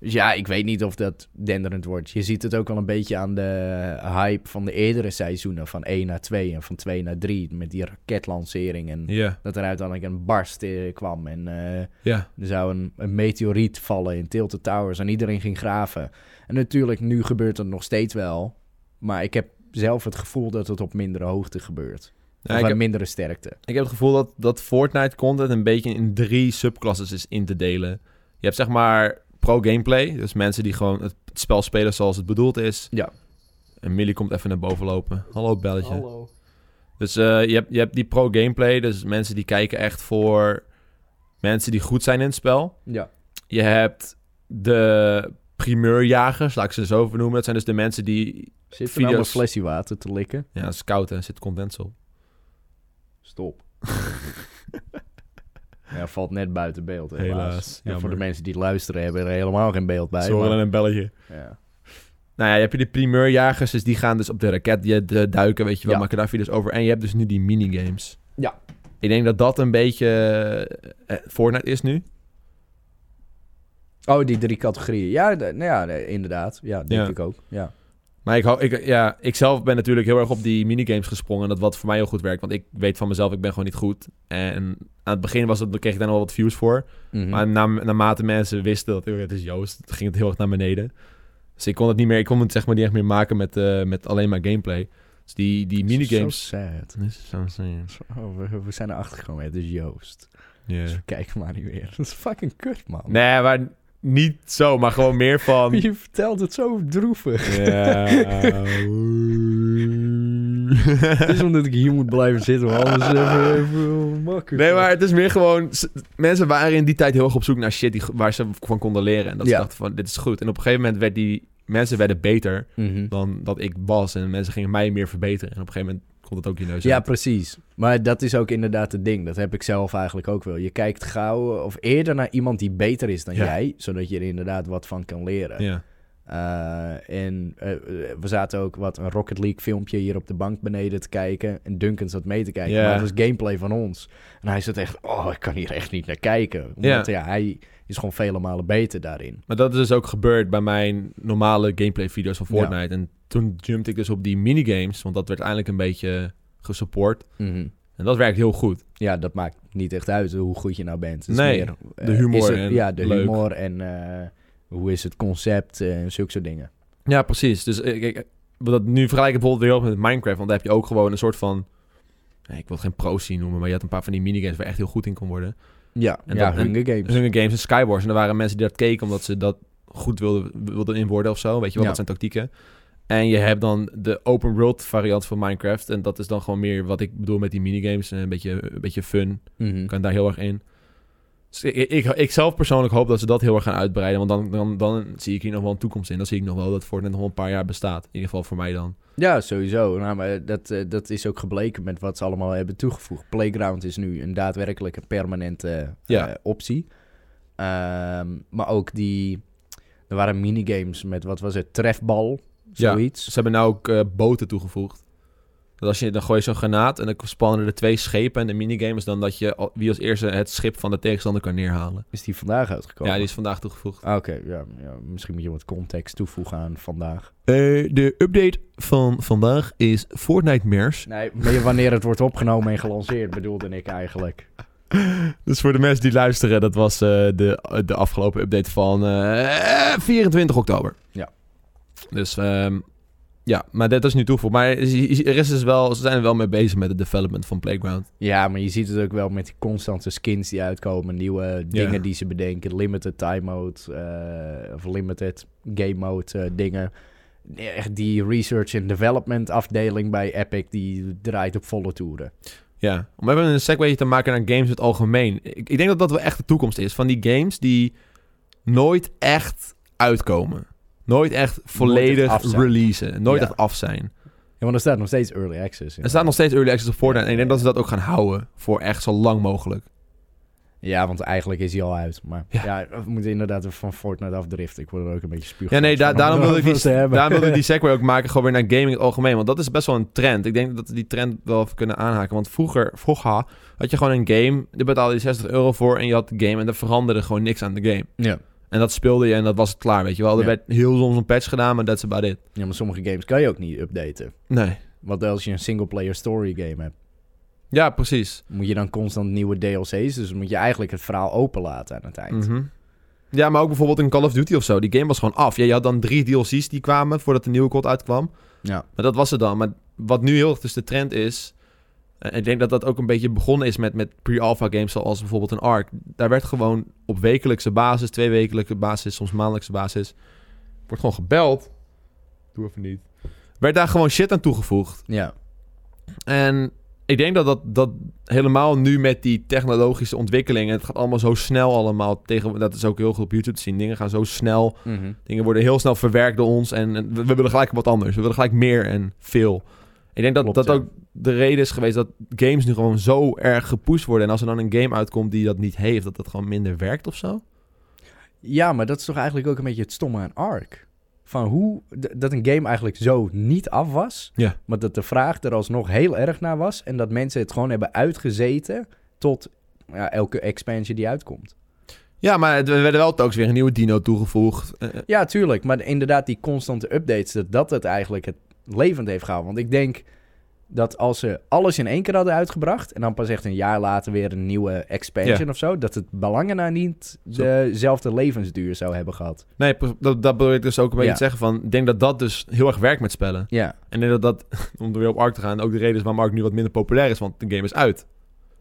B: dus ja, ik weet niet of dat denderend wordt. Je ziet het ook al een beetje aan de hype van de eerdere seizoenen. Van 1 naar 2 en van 2 naar 3. Met die raketlancering. En
A: Ja,
B: dat er uiteindelijk een barst eh, kwam. En eh,
A: ja.
B: er zou een, een meteoriet vallen in Tilted Towers. En iedereen ging graven. En natuurlijk, nu gebeurt het nog steeds wel. Maar ik heb zelf het gevoel dat het op mindere hoogte gebeurt.
A: Ja,
B: of
A: ik,
B: aan
A: heb,
B: mindere sterkte.
A: ik heb het gevoel dat, dat Fortnite-content een beetje in drie subclasses is in te delen. Je hebt zeg maar pro-gameplay, dus mensen die gewoon het spel spelen zoals het bedoeld is.
B: Ja.
A: En Millie komt even naar boven lopen. Hallo, belletje.
C: Hallo.
A: Dus eh, je, hebt, je hebt die pro-gameplay, dus mensen die kijken echt voor mensen die goed zijn in het spel.
B: Ja.
A: Je hebt de primeurjagers, laat ik ze zo vernoemen. Dat zijn dus de mensen die...
B: Zit er
A: Video's.
B: nou een flesje water te likken?
A: Ja, dat is koud en zit condensel. op.
B: Stop. ja, valt net buiten beeld, helaas.
A: Helaas,
B: En voor
A: jammer.
B: de mensen die het luisteren hebben er helemaal geen beeld bij.
A: Zorgen
B: maar-
A: en een belletje.
B: ja.
A: Nou ja, je hebt die primeurjagers, dus die gaan dus op de raket die, de duiken, weet je wel,
B: Ja.
A: maken daar video's over. En je hebt dus nu die minigames.
B: Ja.
A: Ik denk dat dat een beetje eh, Fortnite is nu.
B: Oh, die drie categorieën. Ja, de- nou ja nee, inderdaad. Ja, denk
A: Ja.
B: ik ook. Ja.
A: Maar ik, hou- ik, ja, ik zelf ben natuurlijk heel erg op die minigames gesprongen. En dat wat voor mij heel goed werkt. Want ik weet van mezelf, ik ben gewoon niet goed. En aan het begin was het, kreeg ik daar nog wel wat views voor.
B: Mhm.
A: Maar na, naarmate mensen wisten dat "Oh, het is Joost, ging het heel erg naar beneden. Dus ik kon het niet meer, ik kon het zeg maar niet echt meer maken met, eh, met alleen maar gameplay. Dus die, die minigames...
B: Zo sad.
A: Dat is zo saai.
B: Oh, we, we zijn erachter gekomen. Het is Joost. Dus we kijken maar niet weer. Dat is fucking kut, man.
A: Nee, maar niet zo, maar gewoon meer van...
B: Je vertelt het zo droevig.
A: Ja.
B: Het is omdat ik hier moet blijven zitten, want anders eh, even, even eh, makkelijk.
A: Ah. Nee, maar het is meer gewoon... s- Mensen waren in die tijd heel erg op zoek naar shit die, waar ze van konden leren. En dat ze
B: Ja.
A: dachten van, dit is goed. En op een gegeven moment werd die... Mensen werden beter
B: Mhm.
A: dan dat ik was. En mensen gingen mij meer verbeteren. En op een gegeven moment komt het ook je neus
B: Ja,
A: uit.
B: precies. Maar dat is ook inderdaad het ding. Dat heb ik zelf eigenlijk ook wel. Je kijkt gauw eh, of eerder naar iemand die beter is dan
A: Ja.
B: jij, zodat je er inderdaad wat van kan leren.
A: Ja.
B: Eh, en eh, we zaten ook wat een Rocket League filmpje hier op de bank beneden te kijken. En Duncan zat mee te kijken.
A: Ja.
B: Maar dat was gameplay van ons. En hij zat echt, oh, ik kan hier echt niet naar kijken. Omdat ja, hij is gewoon vele malen beter daarin.
A: Maar dat is dus ook gebeurd bij mijn normale gameplay video's van Fortnite. En toen jumpte ik dus op die minigames. Want dat werd eindelijk een beetje gesupport.
B: Mhm.
A: En dat werkt heel goed.
B: Ja, dat maakt niet echt uit hoe goed je nou bent. Het
A: Nee,
B: is meer, eh,
A: de humor
B: is het-
A: en
B: ja, de
A: leuk.
B: humor en eh, hoe is het concept eh, en zulke soort dingen.
A: Ja, precies. Dus eh, kijk, eh, wat dat nu vergelijk ik bijvoorbeeld weer op met Minecraft. Want daar heb je ook gewoon een soort van... nee, Ik wil het geen pro scene noemen, maar je had een paar van die minigames waar je echt heel goed in kon worden. Dus-
B: Ja,
A: En
B: ja
A: dat- en-
B: Hunger Games.
A: Hunger Games en Skywars. En er waren mensen die dat keken omdat ze dat goed wilden, wilden in worden of zo. Weet je wel,
B: Ja.
A: dat zijn tactieken. En je hebt dan de open world variant van Minecraft. En dat is dan gewoon meer wat ik bedoel met die minigames. Een beetje, een beetje fun.
B: Mhm.
A: Ik kan daar heel erg in. Dus ik, ik, ik zelf persoonlijk hoop dat ze dat heel erg gaan uitbreiden. Want dan, dan, dan zie ik hier nog wel een toekomst in. Dan zie ik nog wel dat Fortnite nog wel een paar jaar bestaat. In ieder geval voor mij dan.
B: Ja, sowieso. Nou, maar dat, eh, dat is ook gebleken met wat ze allemaal hebben toegevoegd. Playground is nu een daadwerkelijke permanente eh,
A: Ja.
B: optie. Ehm, maar ook die... Er waren minigames met, wat was het, trefbal,
A: Ja.
B: zoiets.
A: Ze hebben nou ook eh, boten toegevoegd. Dat als je, dan gooi je zo'n granaat en dan spannen er twee schepen. En de minigame is dan dat je al- wie als eerste het schip van de tegenstander kan neerhalen.
B: Is die vandaag uitgekomen?
A: Ja, die is vandaag toegevoegd.
B: Ah, Oké, ja, ja, misschien moet je wat context toevoegen aan vandaag.
A: Eh, de update van vandaag is Fortnite Mers.
B: Nee, meer wanneer het wordt opgenomen en gelanceerd, bedoelde ik eigenlijk.
A: Dus voor de mensen die luisteren, dat was eh, de, de afgelopen update van eh, 24 oktober.
B: Ja.
A: Dus ehm, ja, maar dat is nu toegevoegd. Maar is- is- er is dus wel, ze zijn er wel mee bezig met het development van Playground.
B: Ja, maar je ziet het ook wel met die constante skins die uitkomen. Nieuwe dingen die ze bedenken. Limited time mode, eh, of limited game mode eh, dingen. Echt die research and development afdeling bij Epic, die draait op volle toeren.
A: Ja, om even een segue te maken naar games in het algemeen. Ik, ik denk dat dat wel echt de toekomst is van die games die nooit echt uitkomen. Nooit echt volledig
B: af zijn.
A: releasen. Nooit
B: Ja.
A: echt af zijn.
B: Ja, want er staat nog steeds early access in.
A: Er staat nog steeds early access op Fortnite.
B: Ja,
A: En ik denk
B: ja,
A: dat ze dat ook gaan houden voor echt zo lang mogelijk.
B: Ja, want eigenlijk is hij al uit. Maar
A: Ja.
B: ja, we moeten inderdaad even van Fortnite afdriften. Ik word er ook een beetje spuug.
A: Ja, nee, da-
B: van,
A: daarom
B: om
A: wilde ik die,
B: erover te hebben.
A: daarom wilde ik die segue ook maken, gewoon weer naar gaming in het algemeen. Want dat is best wel een trend. Ik denk dat we die trend wel even kunnen aanhaken. Want vroeger, vroeger had je gewoon een game, daar betaalde je 60 euro voor en je had de game en er veranderde gewoon niks aan de game.
B: Ja.
A: En dat speelde je en dat was het klaar, weet je wel. Er
B: Ja.
A: werd heel soms een patch gedaan, maar that's about it.
B: ja, maar sommige games kan je ook niet updaten.
A: Nee.
B: Want als je een single-player story game hebt,
A: Ja, precies.
B: moet je dan constant nieuwe DLC's. Dus moet je eigenlijk het verhaal openlaten aan het eind.
A: Mhm. Ja, maar ook bijvoorbeeld in Call of Duty of zo. Die game was gewoon af. Ja, je had dan drie DLC's die kwamen voordat de nieuwe COD uitkwam.
B: Ja.
A: Maar dat was het dan. Maar wat nu heel erg dus de trend is... en ik denk dat dat ook een beetje begonnen is met, met pre-alpha games zoals bijvoorbeeld een Ark. Daar werd gewoon op wekelijkse basis, twee wekelijkse basis, soms maandelijkse basis... Wordt gewoon gebeld. Doe even niet. Werd daar gewoon shit aan toegevoegd.
B: Ja.
A: En ik denk dat, dat dat helemaal nu met die technologische ontwikkelingen... het gaat allemaal zo snel allemaal tegen... dat is ook heel goed op YouTube te zien. Dingen gaan zo snel.
B: Mhm.
A: Dingen worden heel snel verwerkt door ons. En, en we, we willen gelijk wat anders. We willen gelijk meer en veel. Ik denk dat
B: Klopt,
A: dat
B: ja.
A: ook de reden is geweest... dat games nu gewoon zo erg gepusht worden. En als er dan een game uitkomt die dat niet heeft... dat dat gewoon minder werkt of zo.
B: Ja, maar dat is toch eigenlijk ook een beetje het stomme aan Ark. Van hoe d- dat een game eigenlijk zo niet af was.
A: Ja.
B: Maar dat de vraag er alsnog heel erg naar was. En dat mensen het gewoon hebben uitgezeten tot ja, elke expansion die uitkomt.
A: Ja, maar het- er werden wel telkens weer een nieuwe dino toegevoegd. Eh, eh,
B: Ja, tuurlijk. Maar inderdaad, die constante updates, dat dat het eigenlijk het levend heeft gehouden. Want ik denk dat als ze alles in één keer hadden uitgebracht... en dan pas echt een jaar later weer een nieuwe expansion of zo... dat het belangen naar niet
A: Zo.
B: dezelfde levensduur zou hebben gehad.
A: nee, pre- dat, dat wil ik dus ook een beetje
B: Ja.
A: te zeggen van... ik denk dat dat dus heel erg werkt met spellen.
B: Ja,
A: En ik denk dat dat, om er weer op Ark te gaan, ook de reden is waarom Ark nu wat minder populair is, want de game is uit.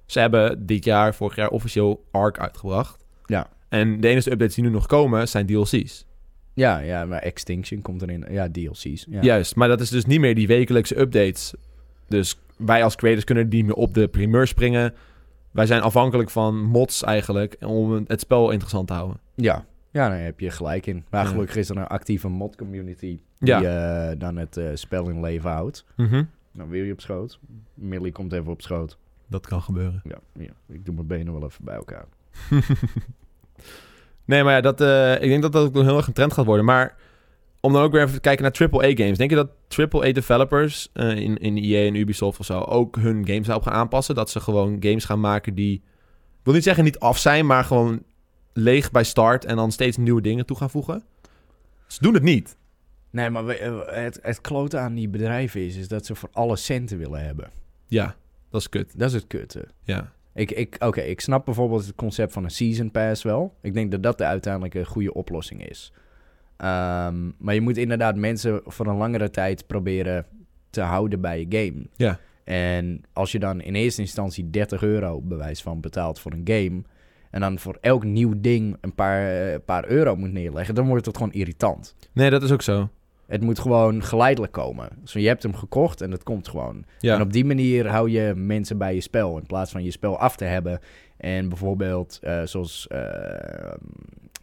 A: Ze hebben dit jaar, vorig jaar, officieel Ark uitgebracht.
B: Ja.
A: En de enige updates die nu nog komen, zijn DLC's.
B: ja, ja maar Extinction komt erin. Ja, DLC's. Ja.
A: Juist, maar dat is dus niet meer die wekelijkse updates. Dus wij als creators kunnen niet meer op de primeur springen. Wij zijn afhankelijk van mods eigenlijk, om het spel interessant te houden.
B: Ja, ja daar heb je gelijk in. Maar
A: Ja.
B: gelukkig is er een actieve mod-community die
A: Ja. Mhm.
B: eh, dan het eh, spel in leven houdt. Dan wil je op schoot. Millie komt even op schoot.
A: Dat kan gebeuren.
B: Ja, ja, ik doe mijn benen wel even bij elkaar.
A: Nee, maar ja, dat, eh, ik denk dat dat ook nog heel erg een trend gaat worden. Maar om dan ook weer even te kijken naar AAA-games. Denk je dat AAA-developers eh, in, in EA en Ubisoft of zo ook hun games daarop gaan aanpassen? Dat ze gewoon games gaan maken die, ik wil niet zeggen niet af zijn, maar gewoon leeg bij start en dan steeds nieuwe dingen toe gaan voegen? Ze doen het niet.
B: Nee, maar we- eh, het, het klote aan die bedrijven is, is dat ze voor alle centen willen hebben.
A: Ja, dat is kut.
B: Dat is het kutte.
A: Ja.
B: Ik, ik, Oké, ik snap bijvoorbeeld het concept van een season pass wel. Ik denk dat dat de uiteindelijke goede oplossing is. Ehm, maar je moet inderdaad mensen voor een langere tijd proberen te houden bij je game.
A: Ja.
B: En als je dan in eerste instantie 30 euro bewijs van betaalt voor een game... en dan voor elk nieuw ding een paar, eh, paar euro moet neerleggen... dan wordt het gewoon irritant.
A: Nee, dat is ook zo.
B: Het moet gewoon geleidelijk komen. Dus je hebt hem gekocht en dat komt gewoon. En
A: Ja.
B: op die manier hou je mensen bij je spel. In plaats van je spel af te hebben. En bijvoorbeeld eh, zoals eh,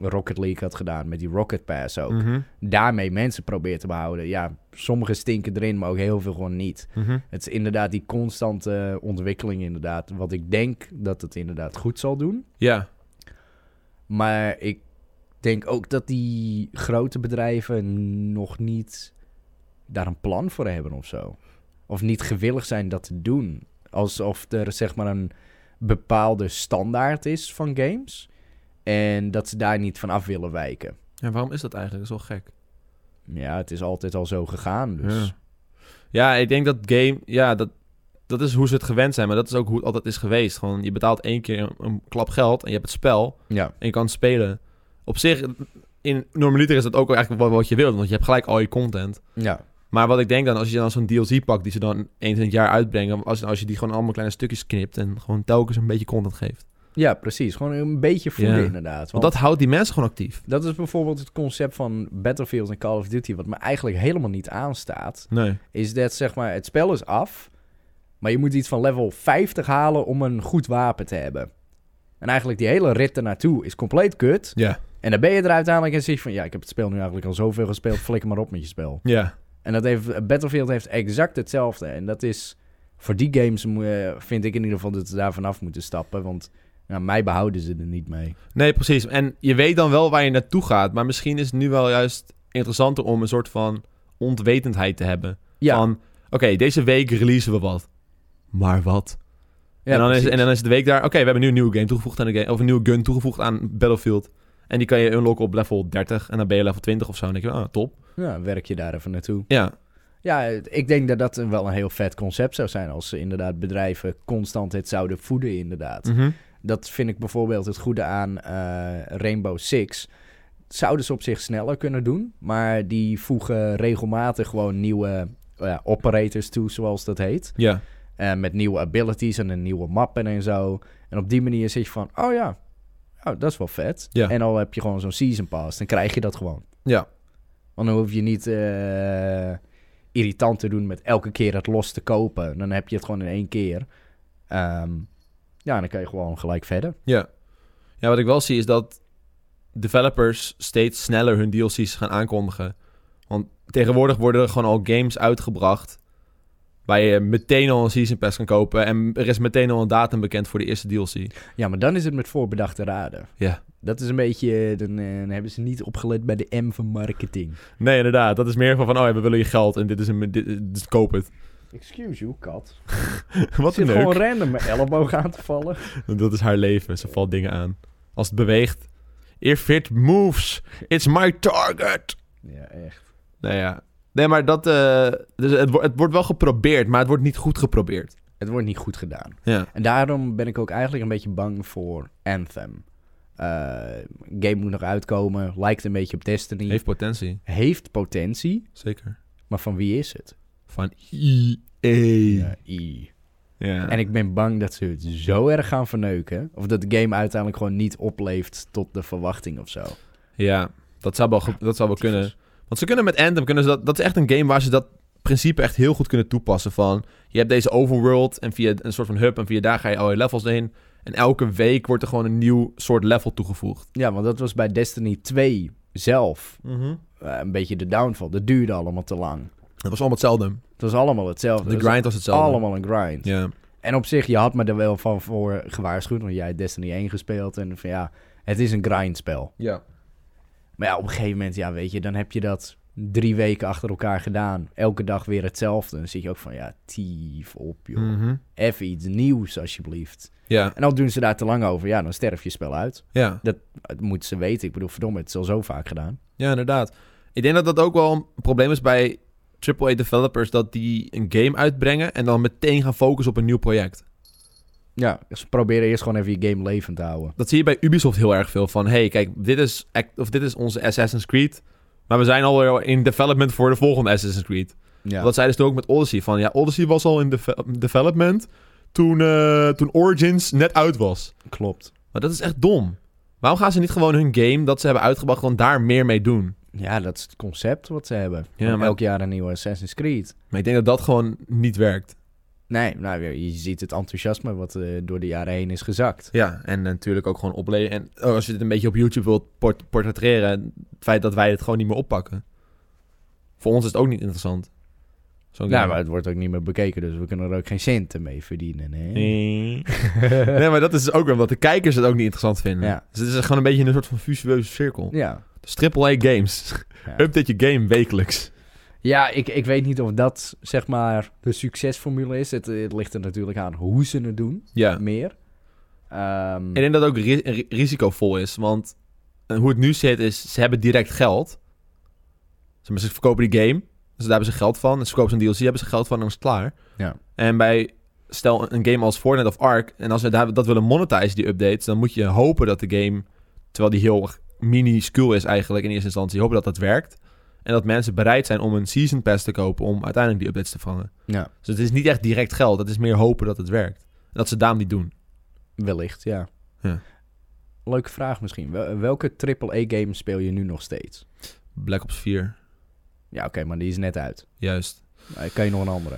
B: Rocket League had gedaan met die Rocket Pass ook.
A: Mhm,
B: Daarmee mensen probeert te behouden. Ja, sommige stinken erin, maar ook heel veel gewoon niet.
A: mhm.
B: Het is inderdaad die constante eh, ontwikkeling inderdaad. Wat ik denk dat het inderdaad goed zal doen.
A: Ja.
B: Maar ik denk ook dat die grote bedrijven nog niet daar een plan voor hebben of zo. Of niet gewillig zijn dat te doen. Alsof er zeg maar een bepaalde standaard is van games. En dat ze daar niet van af willen wijken.
A: En waarom is dat eigenlijk? Dat is wel gek.
B: Ja, het is altijd al zo gegaan. Dus.
A: Ja. Ja, ik denk dat game... Ja, dat, dat is hoe ze het gewend zijn. Maar dat is ook hoe het altijd is geweest. Gewoon, je betaalt één keer een, een klap geld en je hebt het spel
B: Ja.
A: en je kan spelen. Op zich, in normaliter is dat ook eigenlijk wat, wat je wilt. Want je hebt gelijk al je content.
B: ja.
A: Maar wat ik denk dan, als je dan zo'n DLC pakt die ze dan eens in het jaar uitbrengen... Als, als je die gewoon allemaal kleine stukjes knipt en gewoon telkens een beetje content geeft.
B: Ja, precies. Gewoon een beetje voeden
A: Ja.
B: inderdaad.
A: Want
B: Want
A: dat houdt die mensen gewoon actief.
B: dat is bijvoorbeeld het concept van Battlefield en Call of Duty... wat me eigenlijk helemaal niet aanstaat.
A: Nee.
B: is dat zeg maar het spel is af, maar je moet iets van level 50 halen om een goed wapen te hebben. En eigenlijk die hele rit ernaartoe is compleet kut.
A: Ja.
B: En dan ben je er uiteindelijk en zeg je van ja, ik heb het spel nu eigenlijk al zoveel gespeeld, flikker maar op met je spel.
A: Ja.
B: En dat heeft, Battlefield heeft exact hetzelfde. En dat is voor die games mo- eh, vind ik in ieder geval dat ze daar vanaf moeten stappen, want Nou, mij behouden ze er niet mee.
A: Nee, precies. En je weet dan wel waar je naartoe gaat. Maar misschien is het nu wel juist interessanter om een soort van ontwetendheid te hebben.
B: Ja,
A: Van, oké, deze week releasen we wat. Maar wat?
B: ja
A: en, dan is,
B: precies.
A: en dan is de week daar... Oké, we hebben nu een nieuwe game toegevoegd aan de game. Of een nieuwe gun toegevoegd aan Battlefield. En die kan je unlocken op level 30. En dan ben je level 20 of zo. En dan denk je, ah, top.
B: Ja, werk je daar even naartoe.
A: Ja,
B: Ja, ik denk dat dat een- wel een heel vet concept zou zijn als ze inderdaad bedrijven constant het zouden voeden inderdaad.
A: Mhm.
B: Dat vind ik bijvoorbeeld het goede aan eh, Rainbow Six. Zouden ze op zich sneller kunnen doen, maar die voegen regelmatig gewoon nieuwe eh, operators toe, zoals dat heet.
A: ja.
B: Eh, met nieuwe abilities en een nieuwe mappen en zo. En op die manier zit je van, oh ja, oh, dat is wel vet.
A: Ja.
B: En al heb je gewoon zo'n season pass, dan krijg je dat gewoon.
A: Ja.
B: Want dan hoef je niet eh, irritant te doen met elke keer het los te kopen. Dan heb je het gewoon in één keer. Ehm, ja, dan kan je gewoon gelijk verder.
A: Ja. Ja, wat ik wel zie is dat developers steeds sneller hun DLC's gaan aankondigen. Want tegenwoordig worden er gewoon al games uitgebracht waar je meteen al een season pass kan kopen en er is meteen al een datum bekend voor de eerste DLC.
B: Ja, maar dan is het met voorbedachte raden.
A: Ja.
B: Dat is een beetje, eh, dan, eh, dan hebben ze niet opgelet bij de M van marketing.
A: Nee, inderdaad. Dat is meer van, van oh ja, we willen je geld en dit is een... Dit, dus koop het.
B: Excuse you, kat.
A: Wat een
B: Zit
A: leuk.
B: gewoon random mijn elleboog aan te vallen.
A: Dat is haar leven. Ze valt dingen aan. Als het beweegt. If it moves, it's my target.
B: Ja, echt.
A: Nou ja. Nee, maar dat... eh, dus het, wo- het wordt wel geprobeerd, maar het wordt niet goed geprobeerd.
B: Het wordt niet goed gedaan.
A: Ja.
B: En daarom ben ik ook eigenlijk een beetje bang voor Anthem. Eh, game moet nog uitkomen, lijkt een beetje op Destiny.
A: Heeft potentie,
B: heeft potentie,
A: zeker.
B: maar van wie is het?
A: Van E EA. Ja.
B: I. En ik ben bang dat ze het zo erg gaan verneuken. Of dat de game uiteindelijk gewoon niet opleeft tot de verwachting of zo.
A: ja, dat zou wel, ge- dat zou wel kunnen. Want ze kunnen met Anthem, kunnen ze dat, dat is echt een game waar ze dat principe echt heel goed kunnen toepassen. Van, je hebt deze overworld en via een soort van hub en via daar ga je al je levels heen. En elke week wordt er gewoon een nieuw soort level toegevoegd.
B: Ja, want dat was bij Destiny 2 zelf eh, een beetje de downfall. Dat duurde allemaal te lang.
A: Dat was allemaal hetzelfde.
B: Het was allemaal hetzelfde.
A: De
B: Het was
A: grind was hetzelfde.
B: Allemaal een grind.
A: Ja.
B: En op zich, je had me er wel van voor gewaarschuwd. Want jij hebt Destiny 1 gespeeld. En van ja, het is een grindspel.
A: ja.
B: Maar ja, op een gegeven moment, ja, weet je, dan heb je dat drie weken achter elkaar gedaan. Elke dag weer hetzelfde. Dan zit je ook van, ja, tief op, joh.
A: Mhm.
B: Even iets nieuws, alsjeblieft.
A: Ja,
B: En dan doen ze daar te lang over. Ja, dan sterf je spel uit.
A: ja.
B: Dat moeten ze weten. Ik bedoel, verdomme, het is al zo vaak gedaan.
A: Ja, inderdaad. Ik denk dat dat ook wel een probleem is bij AAA developers dat die een game uitbrengen en dan meteen gaan focussen op een nieuw project.
B: Ja, ze proberen Dus eerst gewoon even je game levend te houden.
A: Dat zie je bij Ubisoft heel erg veel van, hey, kijk, dit is, act- of dit is onze Assassin's Creed, maar we zijn alweer in development voor de volgende Assassin's Creed.
B: Ja,
A: Dat zeiden ze toen ook met Odyssey, van ja, Odyssey was al in deve- development toen, eh, toen Origins net uit was.
B: klopt.
A: Maar dat is echt dom. Waarom gaan ze niet gewoon hun game dat ze hebben uitgebracht, gewoon daar meer mee doen?
B: Ja, dat is het concept wat ze hebben.
A: Ja,
B: Van
A: maar-
B: Elk jaar een nieuwe Assassin's Creed.
A: Maar ik denk dat dat gewoon niet werkt.
B: Nee, nou, je je ziet het enthousiasme wat eh, door de jaren heen is gezakt.
A: Ja, en natuurlijk ook gewoon opleven. En oh, als je dit een beetje op YouTube wilt port- portretteren, het feit dat wij het gewoon niet meer oppakken. Voor ons is het ook niet interessant. Zo'n
B: Ja,
A: game.
B: Nou, maar het wordt ook niet meer bekeken, dus we kunnen er ook geen centen mee verdienen. Hè?
A: Nee. nee, maar dat is dus ook wel omdat de kijkers het ook niet interessant vinden.
B: Ja.
A: Dus het is gewoon een beetje een soort van visueuze cirkel.
B: Ja.
A: Dus AAA games.
B: Ja,
A: Update je game wekelijks.
B: ja ik, ik weet niet of dat zeg maar de succesformule is. Het, het ligt er natuurlijk aan hoe ze het doen.
A: Ja.
B: Meer. Ehm,
A: Ik denk dat het ook ri- ri- risicovol is, want eh, hoe het nu zit is, ze hebben direct geld. Zeg maar, Ze verkopen die game, dus daar hebben ze geld van. En ze verkopen zo'n DLC, hebben ze geld van en dan is het klaar.
B: Ja.
A: En bij, stel een game als Fortnite of Ark, en als we daar- dat willen monetizen, die updates, dan moet je hopen dat de game, terwijl die heel minuscuul is eigenlijk in eerste instantie, hopen dat dat werkt. En dat mensen bereid zijn om een season pass te kopen om uiteindelijk die updates te vangen.
B: ja,
A: Dus het is niet echt direct geld, het is meer hopen dat het werkt. En dat ze daarom niet doen.
B: wellicht, ja.
A: Ja.
B: Leuke vraag misschien. Wel- Welke AAA-game speel je nu nog steeds?
A: Black Ops 4,
B: Ja, oké, maar die is net uit.
A: juist.
B: Eh, kan je nog een andere?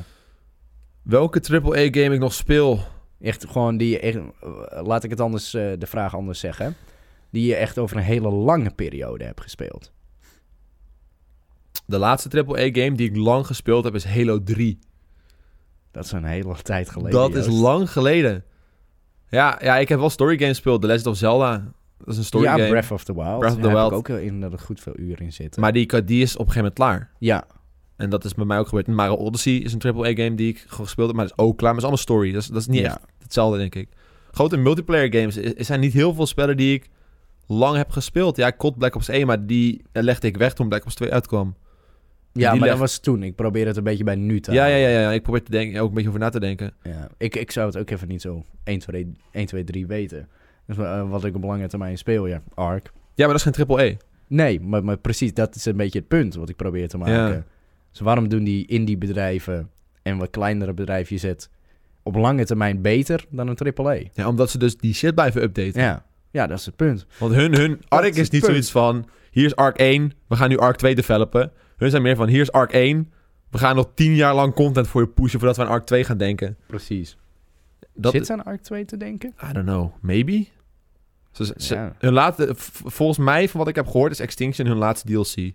A: Welke AAA-game ik nog speel?
B: Echt gewoon die, je echt, eh, laat ik het anders, eh, de vraag anders zeggen. Die je echt over een hele lange periode hebt gespeeld.
A: De laatste AAA-game die ik lang gespeeld heb is Halo 3.
B: Dat is een hele tijd geleden.
A: dat is
B: Joost.
A: lang geleden. Ja, ja, ik heb wel story games gespeeld. The Legend of Zelda. Dat is een story
B: ja,
A: game.
B: Breath of the Wild.
A: Breath of the
B: Daar
A: Wild.
B: heb ik ook inderdaad goed veel uren in zitten.
A: Maar die, kan- die is op een gegeven moment klaar.
B: ja,
A: En dat is bij mij ook gebeurd. Mario Odyssey is een AAA-game die ik gewoon gespeeld heb. Maar dat is ook klaar. Maar dat is allemaal story. Dat is, dat is niet
B: ja.
A: echt hetzelfde, denk ik. Grote multiplayer games. Er er zijn niet heel veel spellen die ik lang heb gespeeld. Ja, ik kot Black Ops 1, maar die eh, legde ik weg toen Black Ops 2 uitkwam.
B: Ja,
A: Die
B: maar
A: leg-
B: dat was toen. Ik probeer het een beetje bij nu te
A: Ja, ja,
B: houden.
A: ja, ja. Ik probeer te denken, ook een beetje over na te denken.
B: Ja, Ik, ik zou het ook even niet zo 1, 2, 1, 2 3 weten. Dus, eh, wat ik op lange termijn speel, ja. Ark.
A: Ja, maar dat is geen AAA.
B: Nee, maar, maar precies, dat is een beetje het punt wat ik probeer te maken.
A: Ja.
B: Dus waarom doen die indie bedrijven en wat kleinere bedrijfjes het op lange termijn beter dan een AAA?
A: Ja, omdat ze dus die shit blijven updaten.
B: Ja, ja dat is het punt.
A: Want hun, hun
B: Dat
A: ARK
B: is
A: is
B: het
A: niet
B: punt.
A: zoiets van... Hier is ARK 1, we gaan nu ARK 2 developen. Hun zijn meer van, hier is ARK 1... We gaan nog tien jaar lang content voor je pushen... voordat we aan ARK 2 gaan denken.
B: Precies.
A: Dat,
B: Zit ze aan Ark 2 te denken?
A: I don't know, maybe? Ze, ze-
B: Ja.
A: hun laatste, v- volgens mij, van wat ik heb gehoord... is Extinction hun laatste DLC. Nee,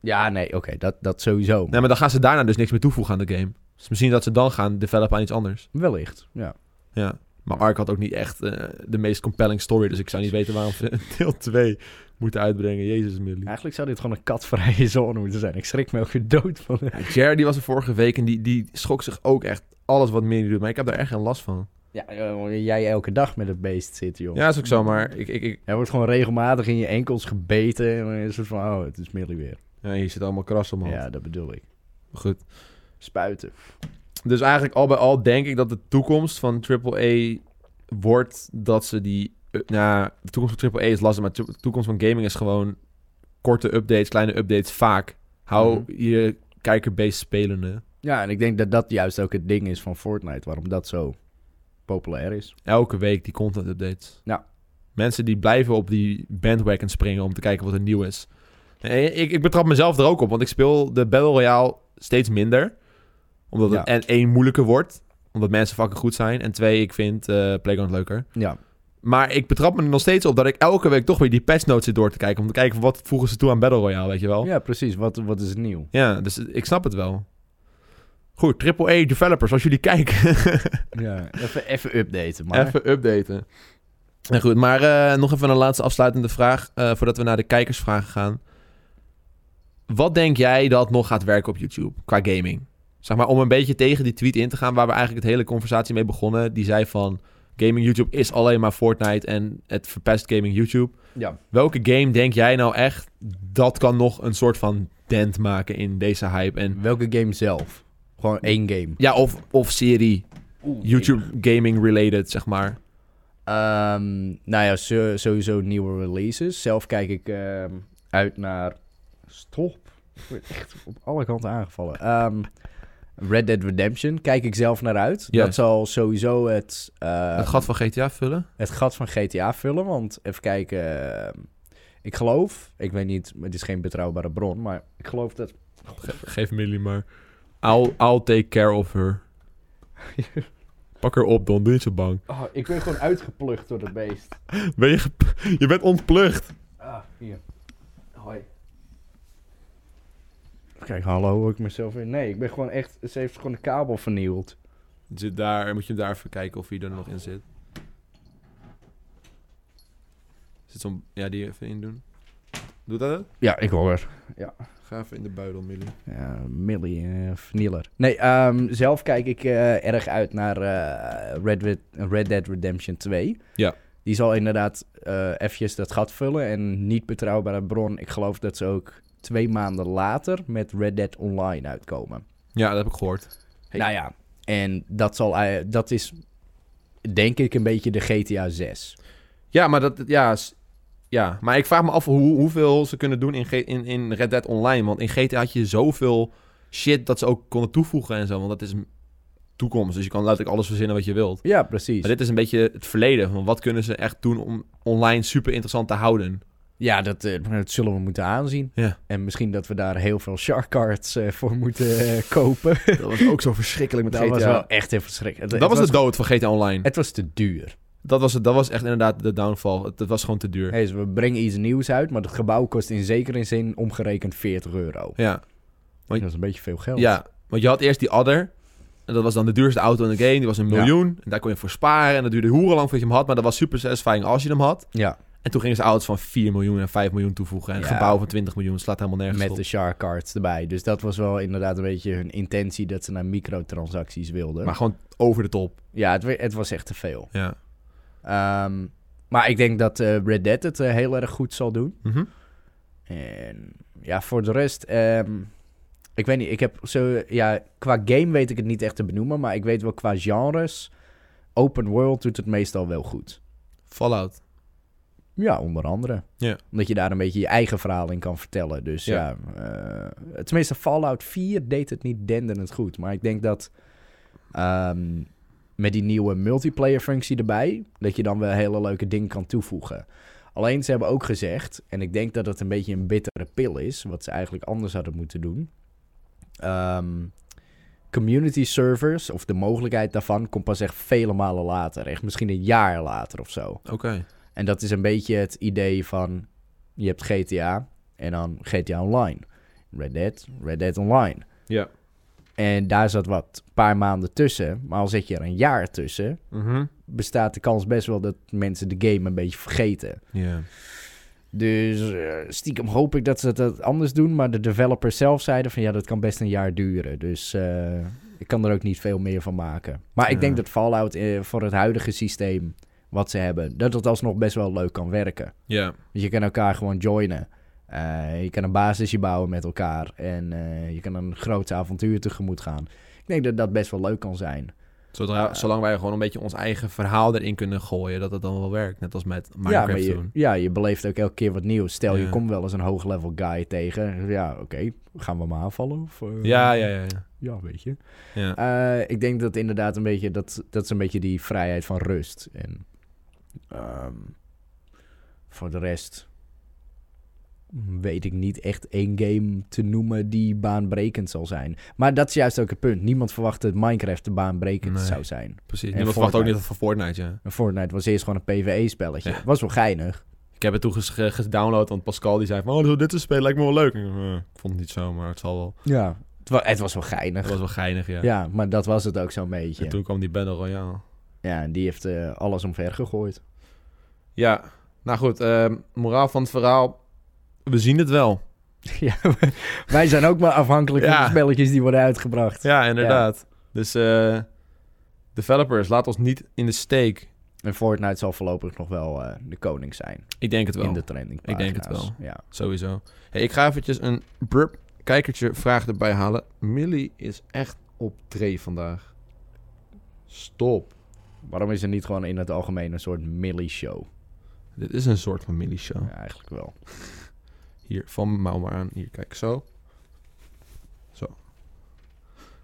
B: Ja, nee, oké, dat, dat sowieso.
A: maar dan gaan ze daarna dus niks meer toevoegen aan de game. Dus misschien dat ze dan gaan developen aan iets anders.
B: Wellicht, ja.
A: Ja. Maar Ark had ook niet echt eh, de meest compelling story... dus ik zou niet weten waarom ze deel 2 moeten uitbrengen. Jezus, Millie.
B: Eigenlijk zou dit gewoon een katvrije zone moeten zijn. Ik schrik me ook weer dood van.
A: Ja, Jared, die was er vorige week en die, die schrok zich ook echt alles wat meer doet. Maar ik heb daar echt geen last van.
B: Ja, eh, jij elke dag met het beest zit, joh.
A: Ja, is ook zo, maar ik... ik, ik
B: Hij wordt gewoon regelmatig in je enkels gebeten. En dan is het van, oh, het is Millie weer.
A: ja, hier zit allemaal kras op, man.
B: Ja, dat bedoel ik.
A: Goed.
B: Spuiten.
A: Dus eigenlijk al bij al denk ik dat de toekomst van AAA wordt dat ze die... eh, Nou, de toekomst van AAA is lastig, maar de toekomst van gaming is gewoon korte updates, kleine updates, vaak. Hou je kijkerbase spelende.
B: Ja, en ik denk dat dat juist ook het ding is van Fortnite. Waarom dat zo populair is.
A: Elke week die content updates.
B: Ja.
A: Mensen die blijven op die bandwagon springen om te kijken wat er nieuw is. En ik, ik betrap mezelf er ook op, want ik speel de Battle Royale steeds minder. Omdat het
B: Ja.
A: en één moeilijker wordt, omdat mensen fucking goed zijn. En twee, ik vind eh, Playground leuker.
B: Ja,
A: Maar ik betrap me er nog steeds op dat ik elke week toch weer die patch notes zit door te kijken. Om te kijken van wat voegen ze toe aan Battle Royale, weet je wel.
B: ja precies. Wat, wat is nieuw?
A: Ja, dus ik snap het wel. Goed, AAA developers, als jullie kijken.
B: Ja, even, even updaten, maar.
A: Even updaten. Ja, goed, maar eh, nog even een laatste afsluitende vraag eh, voordat we naar de kijkersvragen gaan. Wat denk jij dat nog gaat werken op YouTube qua gaming? Zeg maar om een beetje tegen die tweet in te gaan waar we eigenlijk het hele conversatie mee begonnen. Die zei van gaming YouTube is alleen maar Fortnite en het verpest gaming YouTube.
B: Ja.
A: Welke game denk jij nou echt dat kan nog een soort van dent maken in deze hype? En
B: Welke game zelf? Gewoon één game.
A: ja, of, of serie YouTube gaming related, zeg maar.
B: Ehm, nou ja, zo- sowieso nieuwe releases. Zelf kijk ik ehm, uit naar. Stop. Ik word echt op alle kanten aangevallen. Ehm, Red Dead Redemption kijk ik zelf naar uit.
A: Ja.
B: Dat zal sowieso het, eh,
A: het gat van GTA vullen.
B: het gat van GTA vullen. Want even kijken. ehm, ik geloof, ik weet niet, het is geen betrouwbare bron, maar ik geloof dat.
A: Ge- geef Millie maar. I'll, I'll take care of her. Pak haar op, Don. Doe niet zo bang.
B: Oh, ik ben gewoon uitgeplucht door het beest.
A: Ben je, gep- je bent ontplucht.
B: Ah, hier. Hoi. Kijk, hallo, hoor ik mezelf weer? Nee, ik ben gewoon echt... Ze heeft gewoon de kabel vernield.
A: Zit daar, moet je daar even kijken of hij er nog in zit. Zit zo'n... Ja, die even in doen. Doet dat het?
B: Ja, ik hoor.
A: Ga even in de buidel, Millie.
B: Ja, Millie, eh, vernieler. Nee, ehm, zelf kijk ik eh, erg uit naar eh, Red, Red, Red Dead Redemption 2.
A: Ja.
B: Die zal inderdaad eh eventjes dat gat vullen. En niet betrouwbare bron. Ik geloof dat ze ook twee maanden later met Red Dead Online uitkomen.
A: Ja, dat heb ik gehoord. Hey.
B: Nou ja, en dat, zal, eh, dat is denk ik een beetje de GTA 6.
A: Ja, maar dat... Ja, s- ja. maar ik vraag me af hoe, hoeveel ze kunnen doen in, G- in, in Red Dead Online. Want in GTA had je zoveel shit dat ze ook konden toevoegen en zo. Want dat is m- toekomst. Dus je kan letterlijk alles verzinnen wat je wilt.
B: Ja, precies.
A: Maar dit is een beetje het verleden. Van wat kunnen ze echt doen om online super interessant te houden?
B: Ja, dat, eh, dat zullen we moeten aanzien.
A: Ja.
B: En misschien dat we daar heel veel shark cards eh, voor moeten eh, kopen.
A: Dat was ook zo verschrikkelijk
B: Dat was wel echt heel verschrikkelijk.
A: dat was de dood van GTA Online.
B: Het was te duur.
A: Dat was, het, dat was echt inderdaad de downfall. Het, het was gewoon te duur.
B: Hey, dus we brengen iets nieuws uit, maar het gebouw kost in zekere zin omgerekend 40 euro.
A: Ja.
B: Dat is een beetje veel geld.
A: ja, want je had eerst die Adder. En dat was dan de duurste auto in de game. Die was een
B: Ja.
A: miljoen. En daar kon je voor sparen. En dat duurde hoerenlang voordat je hem had. Maar dat was super satisfying als je hem had.
B: Ja,
A: En toen gingen ze auto's van 4 miljoen en 5 miljoen toevoegen. En een
B: Ja.
A: gebouw van 20 miljoen. Slaat helemaal nergens
B: met
A: op.
B: de shark cards erbij. Dus dat was wel inderdaad een beetje hun intentie dat ze naar microtransacties wilden.
A: Maar gewoon over de top.
B: ja, het, we- het was echt te veel.
A: Ja.
B: Ehm, maar ik denk dat eh, Red Dead het eh, heel erg goed zal doen.
A: Mhm.
B: En ja, voor de rest, ehm, ik weet niet, ik heb zo, ja, qua game weet ik het niet echt te benoemen, maar ik weet wel qua genres, open world doet het meestal wel goed.
A: Fallout.
B: Ja, onder andere.
A: Ja.
B: Omdat je daar een beetje je eigen verhaal in kan vertellen. Dus ja, eh, tenminste Fallout 4 deed het niet denderend goed. Maar ik denk dat ehm, met die nieuwe multiplayer functie erbij, dat je dan wel hele leuke dingen kan toevoegen. Alleen ze hebben ook gezegd, en ik denk dat het een beetje een bittere pil is, wat ze eigenlijk anders hadden moeten doen. Ehm, community servers, of de mogelijkheid daarvan, komt pas echt vele malen later. Echt misschien een jaar later of zo.
A: Oké.
B: En dat is een beetje het idee van... je hebt GTA en dan GTA Online. Red Dead, Red Dead Online.
A: Ja.
B: En daar zat wat paar maanden tussen. Maar al zit je er een jaar tussen...
A: Mhm.
B: bestaat de kans best wel dat mensen de game een beetje vergeten.
A: Ja.
B: Dus eh, stiekem hoop ik dat ze dat anders doen. Maar de developers zelf zeiden van... ja, dat kan best een jaar duren. Dus eh, ik kan er ook niet veel meer van maken. Maar ik
A: Ja.
B: denk dat Fallout eh, voor het huidige systeem... wat ze hebben... dat het alsnog best wel leuk kan werken.
A: Ja.
B: Dus je kan elkaar gewoon joinen. Eh, je kan een basisje bouwen met elkaar. En eh, je kan een groot avontuur tegemoet gaan. Ik denk dat dat best wel leuk kan zijn.
A: Zodra,
B: Eh.
A: Nou, zolang wij gewoon een beetje ons eigen verhaal erin kunnen gooien, dat het dan wel werkt. Net als met
B: ja,
A: Minecraft
B: maar je,
A: doen.
B: ja, je beleeft ook elke keer wat nieuws. Stel,
A: Ja.
B: je komt wel eens een hoog-level guy tegen. Ja, oké, gaan we hem aanvallen? Of, eh,
A: Ja, ja, ja. ja.
B: Ja, weet je.
A: ja.
B: Eh, ik denk dat inderdaad een beetje... Dat, dat is een beetje die vrijheid van rust. En ehm, voor de rest... weet ik niet echt één game te noemen die baanbrekend zal zijn. Maar dat is juist ook het punt. Niemand verwacht dat Minecraft de baanbrekend
A: Nee.
B: zou zijn.
A: Precies.
B: En
A: Niemand verwacht ook
B: Fortnite.
A: niet dat van Fortnite, ja.
B: En Fortnite was eerst gewoon een PvE-spelletje.
A: Ja.
B: Was wel geinig.
A: Ik heb het toen ges- ge- gedownload, want Pascal die zei van... Oh, dit is spelen, lijkt me wel leuk. En ik, eh, ik vond het niet zo, maar het zal wel.
B: Ja. Het was, het was wel geinig.
A: Het was wel geinig, ja.
B: ja. maar dat was het ook zo'n beetje.
A: En toen kwam die Battle Royale.
B: Ja, en die heeft eh, alles omver gegooid.
A: Ja, nou goed. ehm, moraal van het verhaal. We zien het wel.
B: ja, wij zijn ook maar afhankelijk van
A: Ja.
B: de spelletjes die worden uitgebracht.
A: Ja, inderdaad. Dus eh, developers, laat ons niet in de steek.
B: En Fortnite zal voorlopig nog wel eh, de koning zijn
A: Ik denk het wel.
B: in de trending
A: Ik denk het
B: pagina's. Ja.
A: Sowieso. Hey, ik ga eventjes een burp kijkertje vraag erbij halen. Millie is echt op tree vandaag. Stop.
B: Waarom is er niet gewoon in het algemeen een soort Millie-show?
A: Oh. Dit is een soort van Millie show.
B: Ja, eigenlijk wel.
A: Hier, van mijn mouw maar aan. Hier, kijk, zo. Zo.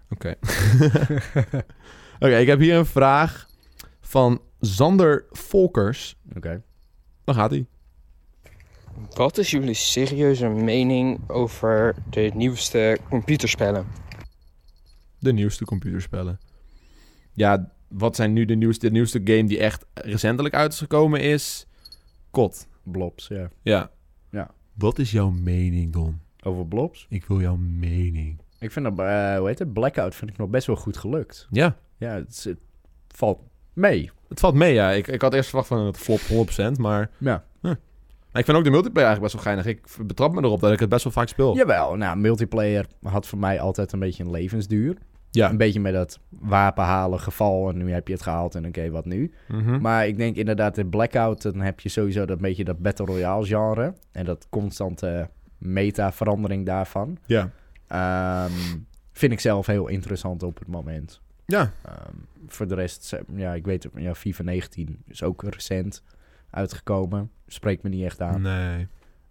A: Oké. Oké, ik heb hier een vraag van Zander Volkers.
B: Oké.
A: Dan gaat hij.
C: Wat is jullie serieuze mening over de nieuwste computerspellen?
A: De nieuwste computerspellen. Ja, wat zijn nu de nieuwste, de nieuwste game die echt recentelijk uit is gekomen is? Kot.
B: Blobs, ja.
A: Ja.
B: Ja.
A: Wat is jouw mening, Don?
B: Over blobs?
A: Ik wil jouw mening.
B: Ik vind dat, eh, hoe heet het, Blackout vind ik nog best wel goed gelukt.
A: Ja,
B: Ja, het, is- het valt mee.
A: het valt mee, ja. Ik, ik had eerst verwacht van het flop 100%, maar...
B: Ja.
A: Maar ik vind ook de multiplayer eigenlijk best wel geinig. Ik betrap me erop dat ik het best wel vaak speel.
B: Jawel, nou, multiplayer had voor mij altijd een beetje een levensduur.
A: Ja.
B: Een beetje met dat wapen halen geval en nu heb je het gehaald en oké, wat nu?
A: Mhm.
B: Maar ik denk inderdaad in Blackout, dan heb je sowieso dat beetje dat Battle Royale genre. En dat constante meta-verandering daarvan.
A: ja.
B: Ehm, vind ik zelf heel interessant op het moment.
A: Ja.
B: Ehm, voor de rest, ze- ja, ik weet, ja, FIFA 19 is ook recent uitgekomen. Spreekt me niet echt aan.
A: Nee.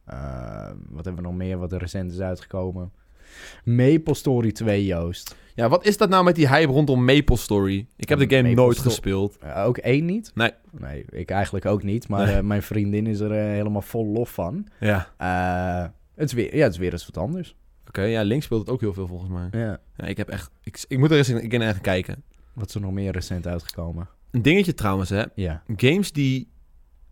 B: Ehm, wat hebben we nog meer wat er recent is uitgekomen? Maple Story 2, Joost.
A: Ja, wat is dat nou met die hype rondom Maple Story? Ik heb de game
B: Maple
A: nooit
B: Sto-
A: gespeeld.
B: Eh, ook één niet?
A: Nee.
B: Nee, ik eigenlijk ook niet. Maar
A: Nee.
B: eh, mijn vriendin is er eh, helemaal vol lof van.
A: Ja.
B: Eh, het, is weer, ja, het is weer eens wat anders.
A: Oké, ja, Link speelt het ook heel veel volgens mij.
B: Ja.
A: Ja, ik heb echt... Ik, ik moet er eens in, in gaan kijken.
B: Wat is er nog meer recent uitgekomen?
A: Een dingetje trouwens, hè.
B: Ja.
A: Games die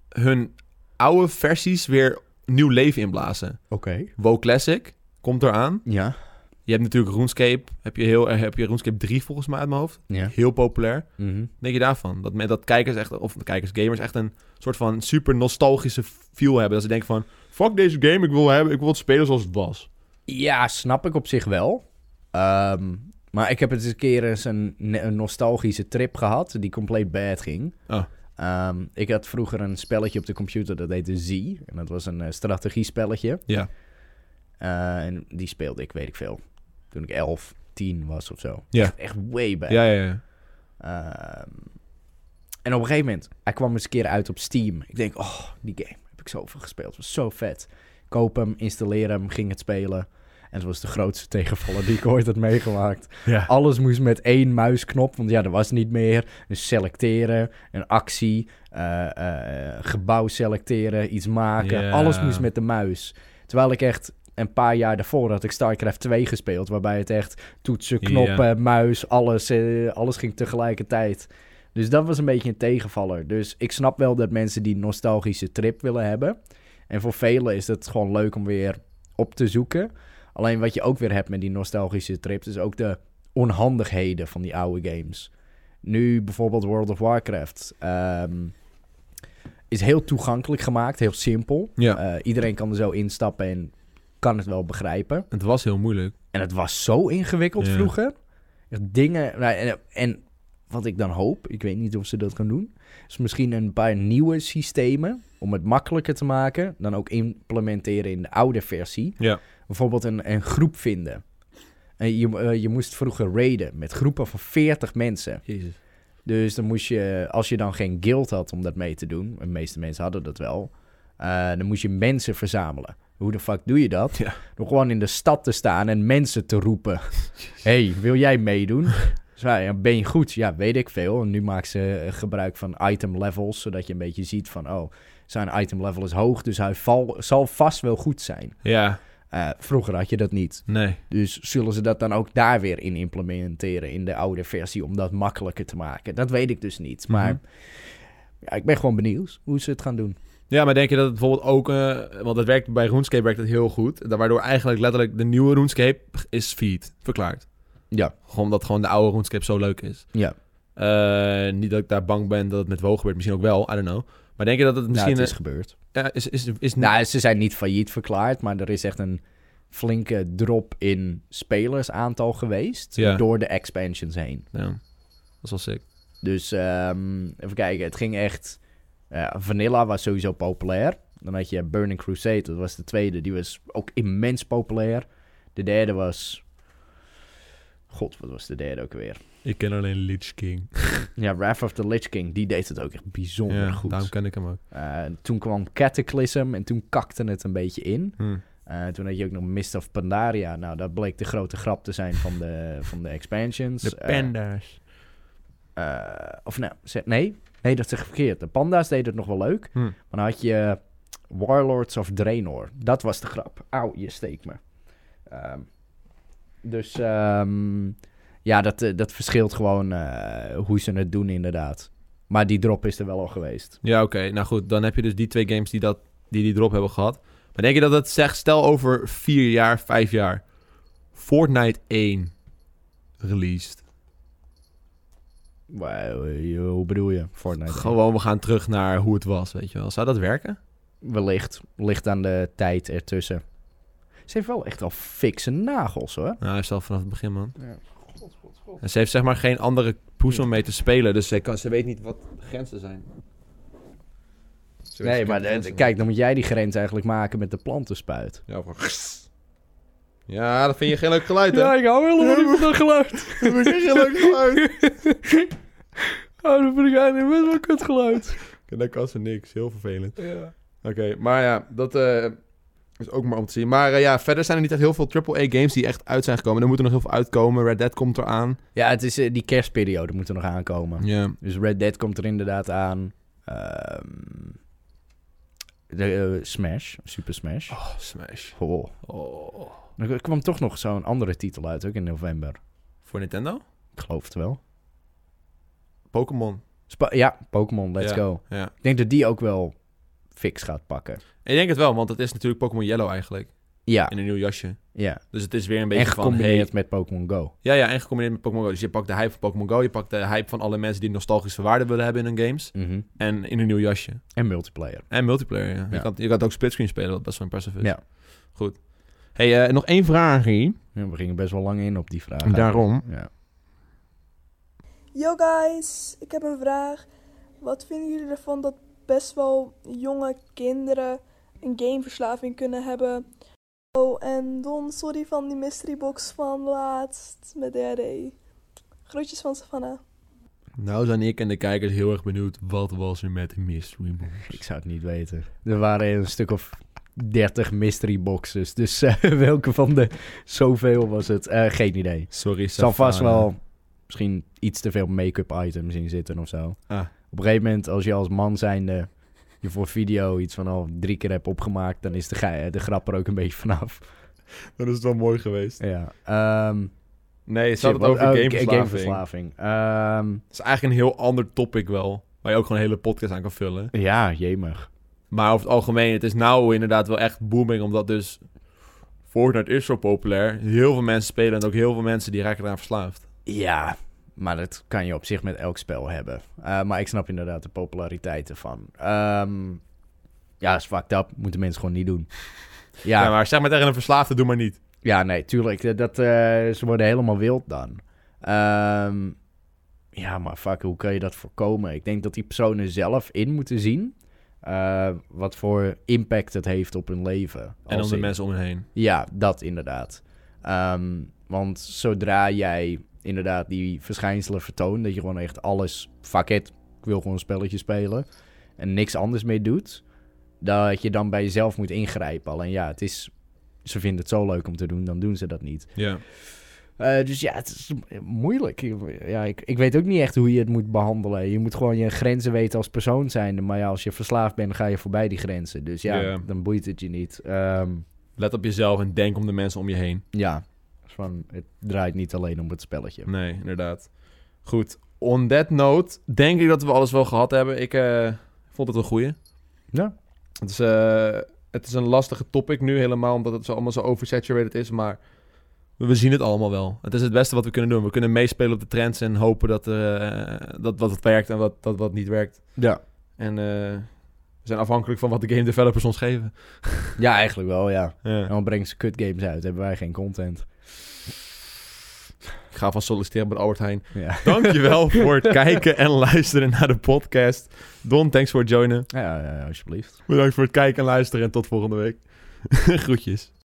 A: hun oude versies weer nieuw leven inblazen.
B: Oké.
A: WoW Classic komt eraan.
B: Ja.
A: Je Je hebt natuurlijk RuneScape. Heb je, heel, heb je RuneScape 3 volgens mij uit mijn hoofd.
B: Ja.
A: Heel populair.
B: Mhm.
A: Wat denk je daarvan? Dat, men- dat kijkers echt, of kijkers, gamers echt een soort van super nostalgische feel hebben. Dat ze denken van, fuck deze game, ik wil, hebben, ik wil het spelen zoals het was.
B: Ja, snap ik op zich wel. Ehm, maar ik heb het eens een keer eens een, ne- een nostalgische trip gehad die compleet bad ging.
A: Oh.
B: Ehm, ik had vroeger een spelletje op de computer dat heette Z. En dat was een eh, strategiespelletje.
A: Ja.
B: Eh, en die speelde ik, weet ik veel, toen ik 11, 10 was of zo.
A: Ja.
B: Echt, echt way back.
A: Ja, ja, ja.
B: Ehm, en op een gegeven moment, hij kwam eens een keer uit op Steam. Ik denk, oh, die game heb ik zoveel gespeeld. was zo vet. Koop hem, installeer hem, ging het spelen. En het was de grootste tegenvaller die ik ooit had meegemaakt.
A: Ja.
B: Alles moest met één muisknop, want ja, er was niet meer. Dus selecteren, een actie, eh, eh, gebouw selecteren, iets maken.
A: Ja.
B: Alles moest met de muis. Terwijl ik echt een paar jaar daarvoor had ik StarCraft 2 gespeeld, waarbij het echt toetsen,
A: Ja.
B: knoppen, muis, alles, eh, alles ging tegelijkertijd. Dus dat was een beetje een tegenvaller. Dus ik snap wel dat mensen die nostalgische trip willen hebben. En voor velen is het gewoon leuk om weer op te zoeken. Alleen wat je ook weer hebt met die nostalgische trips, is ook de onhandigheden van die oude games. Nu bijvoorbeeld World of Warcraft. ehm, is heel toegankelijk gemaakt, heel simpel.
A: Ja.
B: Eh, iedereen kan er zo instappen en kan het wel begrijpen.
A: Het was heel moeilijk.
B: En het was zo ingewikkeld
A: Ja.
B: vroeger. Echt Dingen. nou, en, en wat ik dan hoop, ik weet niet of ze dat gaan doen, is misschien een paar nieuwe systemen om het makkelijker te maken. Dan ook implementeren in de oude versie.
A: Ja.
B: Bijvoorbeeld een, een groep vinden. En je, eh, je moest vroeger raiden met groepen van 40 mensen.
A: Jezus.
B: Dus dan moest je, als je dan geen guild had om dat mee te doen, en de meeste mensen hadden dat wel, eh, dan moest je mensen verzamelen. Hoe de fuck doe je dat?
A: Ja.
B: Door gewoon in de stad te staan en mensen te roepen. hey, wil jij meedoen? Zij, ja, ben je goed? Ja, weet ik veel. En nu maakt ze eh, gebruik van item levels, zodat je een beetje ziet van, oh, zijn item level is hoog, dus hij val- zal vast wel goed zijn.
A: Ja,
B: Eh, vroeger had je dat niet.
A: nee.
B: Dus zullen ze dat dan ook daar weer in implementeren in de oude versie om dat makkelijker te maken? Dat weet ik dus niet. Maar
A: Mhm.
B: ja, ik ben gewoon benieuwd hoe ze het gaan doen.
A: Ja, maar denk je dat het bijvoorbeeld ook... eh, want dat werkt, bij RuneScape werkt het heel goed. Da- Waardoor eigenlijk letterlijk de nieuwe RuneScape is feed. Verklaard.
B: Ja.
A: Gewoon omdat gewoon de oude RuneScape zo leuk is.
B: Ja.
A: Eh, niet dat ik daar bang ben dat het met WoW gebeurt. Misschien ook wel, I don't know. Maar denk je dat het misschien...
B: Misschien Nou, het is
A: eh,
B: gebeurd.
A: ja, is, is, is,
B: Nou, ze zijn niet failliet verklaard, maar er is echt een flinke drop in spelersaantal geweest
A: Ja.
B: door de expansions heen.
A: Ja, dat is wel sick.
B: Dus ehm, even kijken, het ging echt... eh, Vanilla was sowieso populair. Dan had je Burning Crusade, dat was de tweede. Die was ook immens populair. De derde was... God, wat was de derde ook weer?
A: Ik ken alleen Lich King.
B: Ja, Wrath of the Lich King, die deed het ook echt bijzonder
A: Ja,
B: goed.
A: daarom ken ik hem ook.
B: Eh, toen kwam Cataclysm en toen kakte het een beetje in.
A: Hm.
B: Eh, toen had je ook nog Mist of Pandaria. Nou, dat bleek de grote grap te zijn van de, van de expansions.
A: De
B: Eh,
A: panda's.
B: eh, of nou, ze- nee, nee, dat zeg ik verkeerd. De panda's deden het nog wel leuk.
A: Hm.
B: Maar dan had je eh, Warlords of Draenor. Dat was de grap. Auw, je steekt me. Ehm, dus ehm, ja, dat, eh, dat verschilt gewoon eh, hoe ze het doen inderdaad. Maar die drop is er wel al geweest.
A: Ja, oké. Nou goed, dan heb je dus die twee games die dat, die, die drop hebben gehad. Maar denk je dat het zegt, stel over vier jaar, vijf jaar, Fortnite 1 released.
B: Wauw, eh, hoe bedoel je? Fortnite.
A: Gewoon, we gaan terug naar hoe het was, weet je wel. Zou dat werken?
B: Wellicht. Ligt aan de tijd ertussen. Ze heeft wel echt al fikse nagels hoor.
A: Nou, hij is al vanaf het begin, man. En ze heeft zeg maar geen andere poes om mee te spelen, dus ze, kan, ze weet niet wat de grenzen zijn. Ze weet
B: Nee,
A: niet
B: maar
A: wat de
B: eh,
A: grenzen
B: kijk, dan moet jij die grens eigenlijk maken met de plantenspuit.
A: zijn. Ja, of gewoon- ja, dat vind je geen leuk geluid, hè?
B: ik hou helemaal niet van dat geluid.
A: dat vind je geen leuk geluid.
B: Oh, dat vind ik eigenlijk best wel een kut geluid.
A: En dan kan ze niks. Heel vervelend.
B: Ja.
A: Oké, maar ja, dat eh, is ook maar om te zien. Maar eh, ja, verder zijn er niet echt heel veel AAA-games die echt uit zijn gekomen. Er moeten nog heel veel uitkomen. Red Dead komt eraan.
B: het is eh, die kerstperiode moet er nog aankomen.
A: Ja.
B: Dus Red Dead komt er inderdaad aan. Ehm, de, eh, Smash, Super Smash.
A: Oh, Smash.
B: Oh.
A: Oh.
B: Er kwam toch nog zo'n andere titel uit, ook in november.
A: Voor Nintendo?
B: Ik geloof het wel.
A: Pokémon.
B: Spa- ja, Pokémon, let's
A: Ja.
B: go.
A: Ja.
B: Ik denk dat die ook wel fix gaat pakken.
A: Ik denk het wel, want het is natuurlijk Pokémon Yellow eigenlijk.
B: Ja,
A: in een nieuw jasje.
B: ja.
A: Dus het is weer een beetje
B: En
A: van... Hey,
B: gecombineerd met Pokémon Go.
A: ja, ja, en gecombineerd met Pokémon Go. Dus je pakt de hype van Pokémon Go. Je pakt de hype van alle mensen die nostalgische waarde willen hebben in hun games.
B: Mhm.
A: En in een nieuw jasje.
B: En multiplayer.
A: En multiplayer, ja. Je,
B: Ja.
A: kan, je kan ook splitscreen spelen, wat best wel impressive is.
B: Ja.
A: Goed. Hey, eh, nog één vraagje.
B: Ja, we gingen best wel lang in op die vraag.
A: Daarom.
B: Ja.
D: Yo guys, ik heb een vraag. Wat vinden jullie ervan dat best wel jonge kinderen een gameverslaving kunnen hebben? Oh, en Don, sorry van die mystery box van laatst met DRD. Groetjes van Savannah.
A: Nou zijn ik en de kijkers heel erg benieuwd, wat was er met Mystery Box?
B: Ik zou het niet weten. Er waren een stuk of 30 mystery boxes. Dus eh, welke van de zoveel was het? Eh, geen idee.
A: Sorry,
B: Er zal vast
A: Savannah.
B: wel misschien iets te veel make-up items in zitten of zo.
A: Ah.
B: Op een gegeven moment, als je als man zijnde je voor video iets van al drie keer hebt opgemaakt, dan is de, ge- de grap er ook een beetje vanaf.
A: Dan is het wel mooi geweest.
B: Ja. Ehm
A: Nee, ze hadden
B: shit,
A: het over
B: wat- oh,
A: gameverslaving.
B: gameverslaving. Ehm,
A: Het is eigenlijk een heel ander topic wel, waar je ook gewoon een hele podcast aan kan vullen.
B: ja, jemig.
A: Maar over het algemeen, het is nou inderdaad wel echt booming, omdat dus Fortnite is zo populair. Heel veel mensen spelen en ook heel veel mensen die raken eraan verslaafd.
B: Ja, maar dat kan je op zich met elk spel hebben. Eh, maar ik snap inderdaad de populariteit ervan. Ehm, ja, is fucked up. Moeten mensen gewoon niet doen.
A: Ja.
B: Ja,
A: maar zeg maar tegen een verslaafde, doe maar niet.
B: Ja, nee, tuurlijk. Dat, dat, eh, ze worden helemaal wild dan. Ehm, ja, maar fuck, hoe kan je dat voorkomen? Ik denk dat die personen zelf in moeten zien... eh, wat voor impact het heeft op hun leven.
A: En
B: Als
A: om de
B: in-
A: mensen om hen heen.
B: Ja, dat inderdaad. Ehm, want zodra jij inderdaad die verschijnselen vertoont... dat je gewoon echt alles... fuck it, ik wil gewoon een spelletje spelen... en niks anders mee doet... dat je dan bij jezelf moet ingrijpen. Alleen ja, het is... ze vinden het zo leuk om te doen, dan doen ze dat niet.
A: Ja.
B: Eh, dus ja, het is moeilijk. Ja, ik, ik weet ook niet echt hoe je het moet behandelen. Je moet gewoon je grenzen weten als persoon zijn. Maar ja, als je verslaafd bent, ga je voorbij die grenzen. Dus ja,
A: Ja.
B: dan boeit het je niet. Ehm,
A: Let op jezelf en denk om de mensen om je heen.
B: ja, Dus van, het draait niet alleen om het spelletje.
A: Nee, inderdaad. Goed. On that note, denk ik dat we alles wel gehad hebben. Ik eh, vond het een goeie.
B: Ja.
A: Het is, eh, het is een lastige topic nu helemaal, omdat het zo allemaal zo oversaturated is. Maar we zien het allemaal wel. Het is het beste wat we kunnen doen. We kunnen meespelen op de trends en hopen dat, eh, dat wat het werkt en wat, dat wat niet werkt.
B: Ja.
A: En eh, we zijn afhankelijk van wat de game developers ons geven.
B: ja, eigenlijk wel, ja.
A: Ja.
B: En dan brengen ze kut games uit, hebben wij geen content.
A: Ik ga vast solliciteren bij de Albert Heijn.
B: Ja,
A: Dankjewel voor het kijken en luisteren naar de podcast. Don, thanks voor het joinen.
B: ja, ja, ja, alsjeblieft.
A: Bedankt voor het kijken en luisteren en tot volgende week. Groetjes.